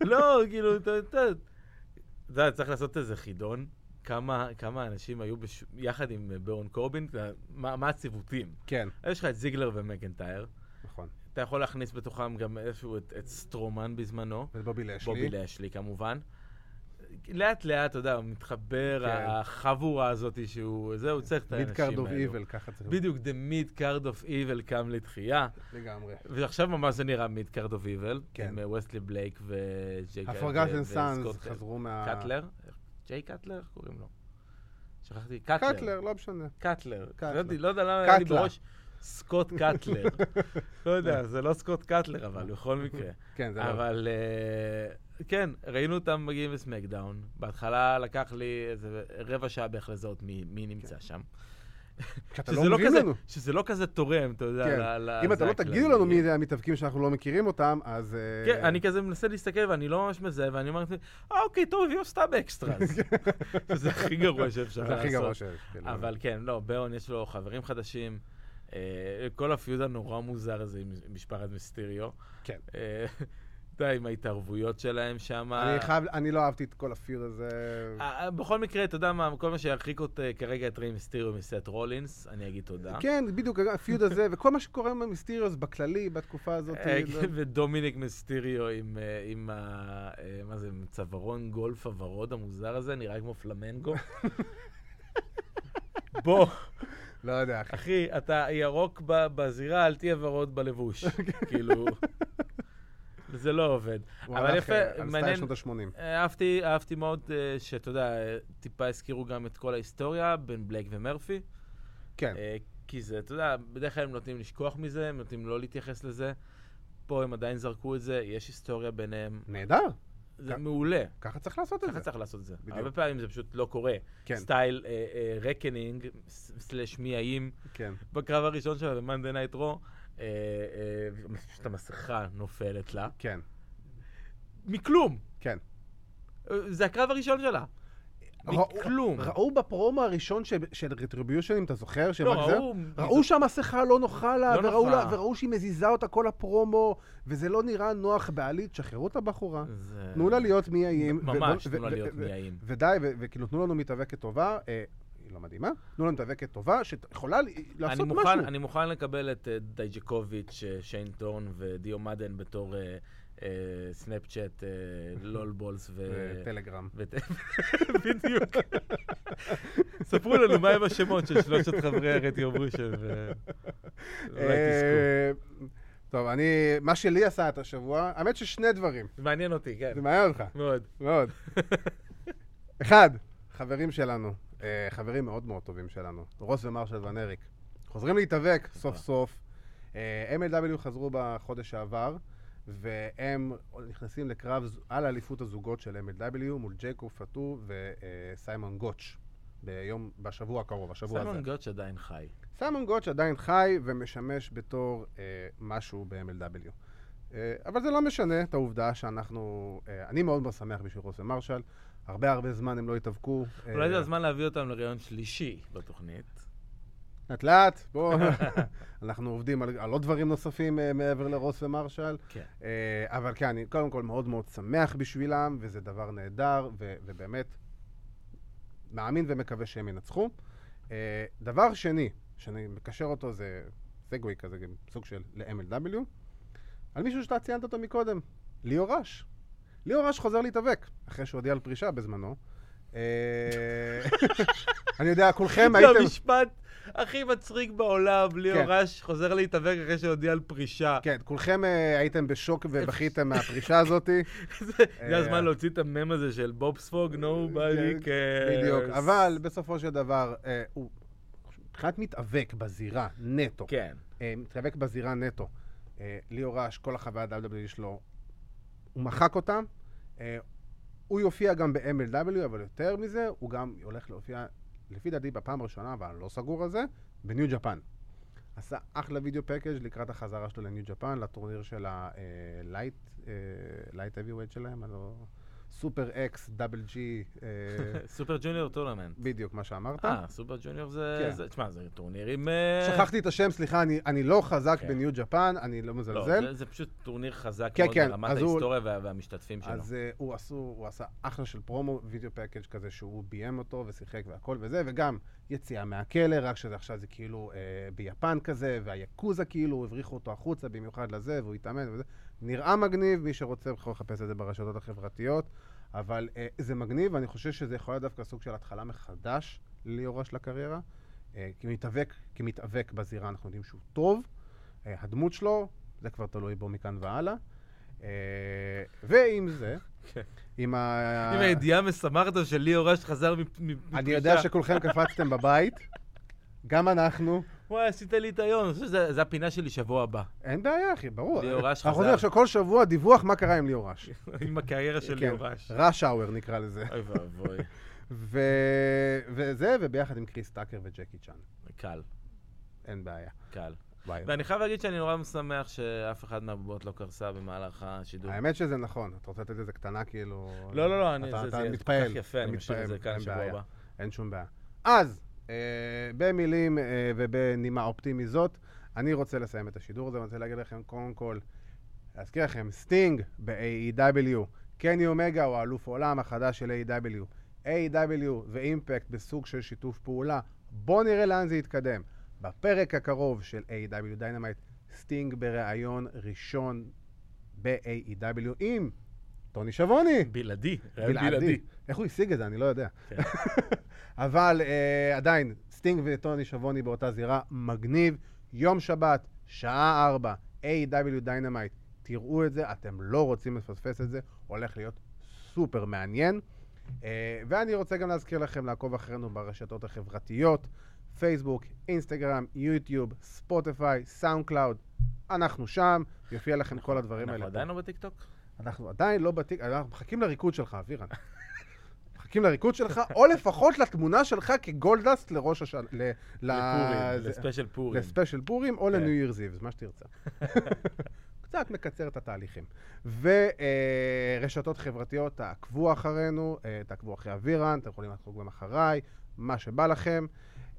Speaker 2: לא, כאילו, אתה אתה- אתה יודע, צריך לעשות איזה חידון. כמה, כמה אנשים היו בש... יחד עם אה, ברון קורבין, אתה- מה, מה הציוותים?
Speaker 1: כן,
Speaker 2: אז יש לך את זיגלר ומקנטייר,
Speaker 1: נכון.
Speaker 2: אתה יכול להכניס בתוכם גם איפשהו את, את סטרומן בזמנו,
Speaker 1: ובובי לשלי.
Speaker 2: בובי לשלי כמובן. לאט לאט, אתה יודע, הוא מתחבר,
Speaker 1: כן.
Speaker 2: החבורה הזאת שהוא, זהו, צריך את האנשים האלו.
Speaker 1: מידקארד אוף איבל, ככה צריך להיות.
Speaker 2: בדיוק, The Midcard of Evil קם לתחייה,
Speaker 1: לגמרי.
Speaker 2: ועכשיו ממש זה נראה Midcard of Evil,
Speaker 1: כן.
Speaker 2: עם אה, וסלי בלייק וג'יי
Speaker 1: הפרגטן
Speaker 2: ו-
Speaker 1: סאנס
Speaker 2: וסקוט
Speaker 1: חזרו מה...
Speaker 2: קאטלר? ג'יי קאטלר? איך קוראים לו? שכחתי, קאטלר.
Speaker 1: קאטלר, לא משנה.
Speaker 2: קאטלר.
Speaker 1: קאטלר.
Speaker 2: לא יודע- לא יודע למה היה לי
Speaker 1: קאטלה.
Speaker 2: בראש סקוט קאטלר. לא יודע, זה לא סקוט קאטלר, אבל בכל מקרה.
Speaker 1: כן, זה לא...
Speaker 2: אבל אה, כן, ראינו אותם מגיעים לסמקדאון. בהתחלה לקח לי איזה רבע שעה בערך לזהות מי מי נמצא שם.
Speaker 1: כשאתה
Speaker 2: שזה
Speaker 1: כן. לא
Speaker 2: לא
Speaker 1: מבין
Speaker 2: כזה-
Speaker 1: לנו.
Speaker 2: שזה לא כזה תורם, אתה יודע.
Speaker 1: כן.
Speaker 2: ל- ל-
Speaker 1: אם
Speaker 2: זה
Speaker 1: אתה לא
Speaker 2: הכללי.
Speaker 1: תגידו לנו מי זה המתאבקים שאנחנו לא מכירים אותם, אז... אה,
Speaker 2: כן, אני כזה מנסה להסתכל ואני לא ממש מזהה, ואני אומר לעצמי, אה, אוקיי, טוב, הביאו סתם אקסטרס. זה הכי גרוע שאפשר לעשות.
Speaker 1: זה הכי גרוע שיש. כאילו.
Speaker 2: אבל כן, לא, ברון יש לו חברים חדשים. אה, כל הפיוד הנורא מוזר הזה עם משפחת מיסטריו.
Speaker 1: כן.
Speaker 2: אה, אתה יודע, עם ההתערבויות שלהם שם.
Speaker 1: אני חייב, אני לא אהבתי את כל הפיוד הזה.
Speaker 2: אה, בכל מקרה, אתה יודע מה, כל מה שירחיק אות- אה, כרגע את ריי מיסטריו מסט רולינס, אני אגיד תודה.
Speaker 1: כן, בדיוק, הפיוד הזה, וכל מה שקורה עם המיסטריוס בכללי, בתקופה הזאת.
Speaker 2: אה,
Speaker 1: זה-
Speaker 2: ודומיניק מיסטריו עם, אה, עם ה... אה, מה זה, עם צווארון גולף הוורוד המוזר הזה, נראה כמו פלמנגו. בוא, כן.
Speaker 1: לא יודע, אחי.
Speaker 2: אחי, אתה ירוק ב- בזירה, אל תהיה ורוד בלבוש.
Speaker 1: אוקיי.
Speaker 2: כאילו, זה לא עובד.
Speaker 1: הוא
Speaker 2: אבל
Speaker 1: הלך,
Speaker 2: יפה,
Speaker 1: אה, על סטייל
Speaker 2: מעניין-
Speaker 1: שנות ה-80.
Speaker 2: אהבתי, אהבתי מאוד אה, שאתה יודע, אה, טיפה הזכירו גם את כל ההיסטוריה בין בלייק ומרפי.
Speaker 1: כן,
Speaker 2: אה, כי זה, אתה יודע, בדרך כלל הם נוטים לשכוח מזה, הם נוטים לא להתייחס לזה. פה הם עדיין זרקו את זה, יש היסטוריה ביניהם.
Speaker 1: נהדר,
Speaker 2: זה
Speaker 1: כ-
Speaker 2: מעולה,
Speaker 1: ככה צריך לעשות את
Speaker 2: ככה
Speaker 1: זה.
Speaker 2: צריך לעשות את זה.
Speaker 1: בדיוק.
Speaker 2: הרבה פעמים זה פשוט לא קורה.
Speaker 1: כן,
Speaker 2: סטייל אה, רקנינג, סלאש מי האם,
Speaker 1: כן.
Speaker 2: בקרב הראשון שלה ב-Monday Night Raw, אה, אה, פשוט המסכה נופלת לה.
Speaker 1: כן,
Speaker 2: מכלום!
Speaker 1: כן.
Speaker 2: אה, זה הקרב הראשון שלה.
Speaker 1: ראו-
Speaker 2: מכלום.
Speaker 1: ראו בפרומו הראשון של- של רטריביושן, אם אתה זוכר, שהם
Speaker 2: לא,
Speaker 1: רק זה-
Speaker 2: ראו...
Speaker 1: ראו שהמסכה לא נוחה לה,
Speaker 2: לא
Speaker 1: וראו,
Speaker 2: נוחה.
Speaker 1: לה, וראו שהיא מזיזה אותה כל הפרומו, וזה לא נראה נוח בעליל, תשחררו את הבחורה,
Speaker 2: זה-
Speaker 1: תנו לה להיות מי האיים.
Speaker 2: אה. ממש,
Speaker 1: ו-
Speaker 2: תנו לה
Speaker 1: ו-
Speaker 2: להיות
Speaker 1: ו- ו-
Speaker 2: מי האם.
Speaker 1: ודי, ו- וכאילו תנו לנו מתאבקת טובה, אה, היא לא מדהימה, תנו לנו מתאבקת טובה שיכולה ל-
Speaker 2: אני
Speaker 1: לעשות
Speaker 2: מוכן,
Speaker 1: משהו.
Speaker 2: אני מוכן לקבל את אה, דייג'קוביץ', אה, שיין טורן ודיו מאדן בתור אה, אה, סנאפצ'אט, אה, לול בולס ו...
Speaker 1: אה, טלגרם.
Speaker 2: ו- בדיוק. ספרו לנו מהם השמות של שלושת חברי הרדיובושן, ואולי תזכו.
Speaker 1: אה, טוב, אני, מה שלי עשה את השבוע, האמת ששני דברים,
Speaker 2: זה מעניין אותי, כן.
Speaker 1: זה מעניין אותך,
Speaker 2: מאוד.
Speaker 1: מאוד. אחד, חברים שלנו, אה, חברים מאוד מאוד טובים שלנו, רוס ומרשל ונריק, חוזרים להתאבק סוף
Speaker 2: תודה.
Speaker 1: סוף. אה, MLW חזרו בחודש שעבר, והם נכנסים לקרב ז- על אליפות הזוגות של MLW מול ג'ייקוב פטו וסיימון גוטש. ביום, בשבוע הקרוב, השבוע הזה.
Speaker 2: סיימון גוטש עדיין חי.
Speaker 1: סיימון גוטש עדיין חי ומשמש בתור אה, משהו ב-MLW. אה, אבל זה לא משנה את העובדה שאנחנו... אה, אני מאוד מאוד שמח בשביל רוס ומרשל. הרבה הרבה זמן הם לא התאבקו. אה,
Speaker 2: אולי זה הזמן להביא אותם לראיון שלישי בתוכנית.
Speaker 1: לאט לאט, בואו. אנחנו עובדים על, על עוד דברים נוספים אה, מעבר לרוס ומרשל.
Speaker 2: כן.
Speaker 1: אה, אבל כן, אני קודם כל מאוד מאוד שמח בשבילם, וזה דבר נהדר, ו- ובאמת מאמין ומקווה שהם ינצחו. אה, דבר שני, שאני מקשר אותו, זה סגווי כזה, גם סוג של ל-MLW, על מישהו שאתה ציינת אותו מקודם, ליאור רש. ליאור רש חוזר להתאבק, אחרי שהוא הודיע על פרישה בזמנו. אה, אני יודע, כולכם
Speaker 2: זה
Speaker 1: כן, הייתם...
Speaker 2: המשפט הכי מצחיק בעולם, ליאור
Speaker 1: כן.
Speaker 2: רש חוזר להתאבק אחרי שהודיע על פרישה.
Speaker 1: כן, כולכם אה, הייתם בשוק ובכיתם מהפרישה הזאתי.
Speaker 2: זה
Speaker 1: אה,
Speaker 2: זה הזמן להוציא את המם הזה של בוב ספוג, nobody cares.
Speaker 1: כן, בדיוק, אבל בסופו של דבר, אה, הוא מבחינת מתאבק בזירה נטו,
Speaker 2: כן.
Speaker 1: אה, מתאבק בזירה נטו, אה, ליאור רש, כל החוויה WWE שלו, הוא מחק אותם. אה, הוא יופיע גם ב-MLW, אבל יותר מזה, הוא גם הולך להופיע, לפי דעתי, בפעם הראשונה, אבל אני לא סגור על זה, בניו ג'פן. עשה אחלה וידאו פקאג' לקראת החזרה שלו לניו ג'פן, לטורניר של אה, הלייט, לייט heavyweight שלהם, הלא... סופר אקס, דאבל ג'י,
Speaker 2: סופר ג'וניור טורנמנט.
Speaker 1: אה, בדיוק מה שאמרת.
Speaker 2: אה, סופר ג'וניור זה...
Speaker 1: כן.
Speaker 2: זה- תשמע, זה טורנירים... אה,
Speaker 1: שכחתי את השם, סליחה, אני- אני לא חזק
Speaker 2: כן.
Speaker 1: בניו ג'פן, אני לא
Speaker 2: לא,
Speaker 1: מזלזל.
Speaker 2: זה- זה פשוט טורניר חזק
Speaker 1: כן,
Speaker 2: מאוד
Speaker 1: כן,
Speaker 2: ברמת
Speaker 1: אז הוא-
Speaker 2: ההיסטוריה וה- והמשתתפים שלו.
Speaker 1: אז uh, הוא, עשו, הוא עשה אחלה של פרומו, וידאו פקאג' כזה שהוא ביים אותו ושיחק והכל וזה, וגם יציאה מהכלא, רק שזה עכשיו זה כאילו uh, ביפן כזה, והיקוזה כאילו, הבריחו אותו החוצה במיוחד לזה, והוא התאמן וזה. נראה מגניב, מי שרוצה יכול לחפש את זה ברשתות החברתיות, אבל uh, זה מגניב, ואני חושב שזה יכול להיות דווקא סוג של התחלה מחדש ליאורה של הקריירה. Uh, כמתאבק, כמתאבק בזירה אנחנו יודעים שהוא טוב, uh, הדמות שלו, זה כבר תלוי בו מכאן והלאה. אה, ועם זה,
Speaker 2: כן.
Speaker 1: עם ה...
Speaker 2: עם הידיעה המשמחת הזו של ליאור אש חזר מפ- מפ- מפרישה.
Speaker 1: אה, אני יודע שכולכם קפצתם בבית, גם אנחנו.
Speaker 2: וואי, עשית לי את היום, אני חושב שזו הפינה שלי שבוע הבא.
Speaker 1: אין בעיה, אחי, ברור.
Speaker 2: ליאור אש
Speaker 1: אנחנו
Speaker 2: חזר.
Speaker 1: עושים עכשיו כל שבוע דיווח מה קרה עם ליאור אש.
Speaker 2: עם הקריירה של
Speaker 1: כן.
Speaker 2: ליאור אש.
Speaker 1: ראש האואר נקרא לזה.
Speaker 2: אוי ואבוי,
Speaker 1: ו... וזה, וביחד עם קריס טאקר וג'קי צ'אן.
Speaker 2: קל,
Speaker 1: אין בעיה.
Speaker 2: קל.
Speaker 1: ביי.
Speaker 2: ואני חייב להגיד שאני נורא משמח שאף אחד מהבובות לא קרסה במהלך השידור.
Speaker 1: האמת שזה נכון, אתה רוצה לתת איזה קטנה כאילו...
Speaker 2: לא, לא, לא, אני-
Speaker 1: אתה-
Speaker 2: זה
Speaker 1: אתה
Speaker 2: זה
Speaker 1: מתפעל.
Speaker 2: כל כך יפה,
Speaker 1: אתה
Speaker 2: אני משאיר את זה
Speaker 1: מתפעל,
Speaker 2: כאן
Speaker 1: אין
Speaker 2: שבוע
Speaker 1: בעיה.
Speaker 2: הבא.
Speaker 1: אין שום בעיה. אז, אה, במילים אה, ובנימה אופטימית זאת, אני רוצה לסיים את השידור הזה, ואני רוצה להגיד לכם קודם כל, להזכיר לכם, סטינג ב-AEW, קני אומגה הוא האלוף עולם החדש של E AEW, AEW ואימפקט בסוג של שיתוף פעולה. בואו נראה לאן זה יתקדם. בפרק הקרוב של AEW דיינמייט, סטינג בריאיון ראשון ב-AEW עם טוני שבוני.
Speaker 2: בלעדי, רעיון בלעדי.
Speaker 1: איך הוא השיג את זה? אני לא יודע.
Speaker 2: כן.
Speaker 1: אבל אה, עדיין, סטינג וטוני שבוני באותה זירה, מגניב. יום שבת, שעה ארבע, A.W. דיינמייט. תראו את זה, אתם לא רוצים לפספס את זה, הולך להיות סופר מעניין. אה, ואני רוצה גם להזכיר לכם לעקוב אחרינו ברשתות החברתיות, פייסבוק, אינסטגרם, יוטיוב, ספוטיפיי, סאונד קלאוד, אנחנו שם, יופיע לכם כל הדברים האלה.
Speaker 2: אנחנו
Speaker 1: פה.
Speaker 2: עדיין לא בטיקטוק?
Speaker 1: אנחנו עדיין לא בתיק, אנחנו מחכים לריקוד שלך, אבירן. מחכים לריקוד שלך, או לפחות לתמונה שלך כגולדסט לראש השנה,
Speaker 2: לפורים, לספיישל פורים.
Speaker 1: לספיישל פורים, או
Speaker 2: כן.
Speaker 1: לניו ייר זיבס, מה שתרצה. קצת מקצר את התהליכים. ורשתות חברתיות, תעקבו אחרינו, אה, תעקבו אחרי אבירן, אתם יכולים לעקוב גם אחריי, מה שבא לכם.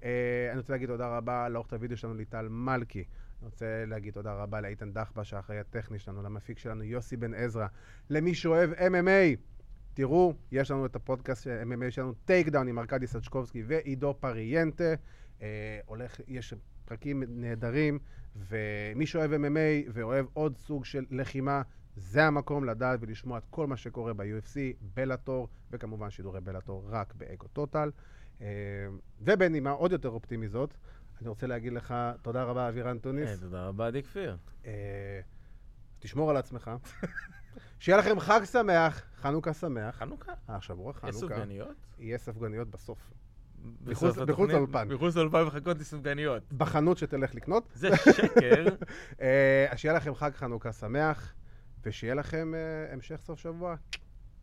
Speaker 1: אה, אני רוצה להגיד תודה רבה לעורכת הוידאו שלנו ליטל מלכי. אני רוצה להגיד תודה רבה לאיתן דחבה, שהאחראי הטכני שלנו, למפיק שלנו יוסי בן עזרא, למי שאוהב MMA. תראו, יש לנו את הפודקאסט של MMA שלנו, טייק דאון עם ארקדי סצ'קובסקי ועידו פריאנטה. אה, הולך, יש פרקים נהדרים, ומי שאוהב MMA ואוהב עוד סוג של לחימה, זה המקום לדעת ולשמוע את כל מה שקורה ב-UFC, בלאטור, וכמובן שידורי בלאטור רק באגו טוטל. אה, ובנימה עוד יותר אופטימי זאת, אני רוצה להגיד לך תודה רבה, אבירן
Speaker 2: אה,
Speaker 1: טוניס.
Speaker 2: תודה רבה, עדי כפיר.
Speaker 1: אה, תשמור על עצמך. שיהיה לכם חג שמח, חנוכה שמח.
Speaker 2: חנוכה?
Speaker 1: אה, שבוע חנוכה.
Speaker 2: יש סופגניות?
Speaker 1: יהיה סופגניות בסוף.
Speaker 2: בסוף
Speaker 1: מחוץ
Speaker 2: התוכנית?
Speaker 1: לאולפן.
Speaker 2: מחוץ לאולפן מחכות לי סופגניות.
Speaker 1: בחנות שתלך לקנות.
Speaker 2: זה שקר.
Speaker 1: אה, אז שיהיה לכם חג חנוכה שמח, ושיהיה לכם אה, המשך סוף שבוע.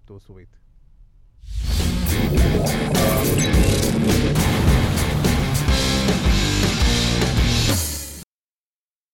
Speaker 1: תעשו איט.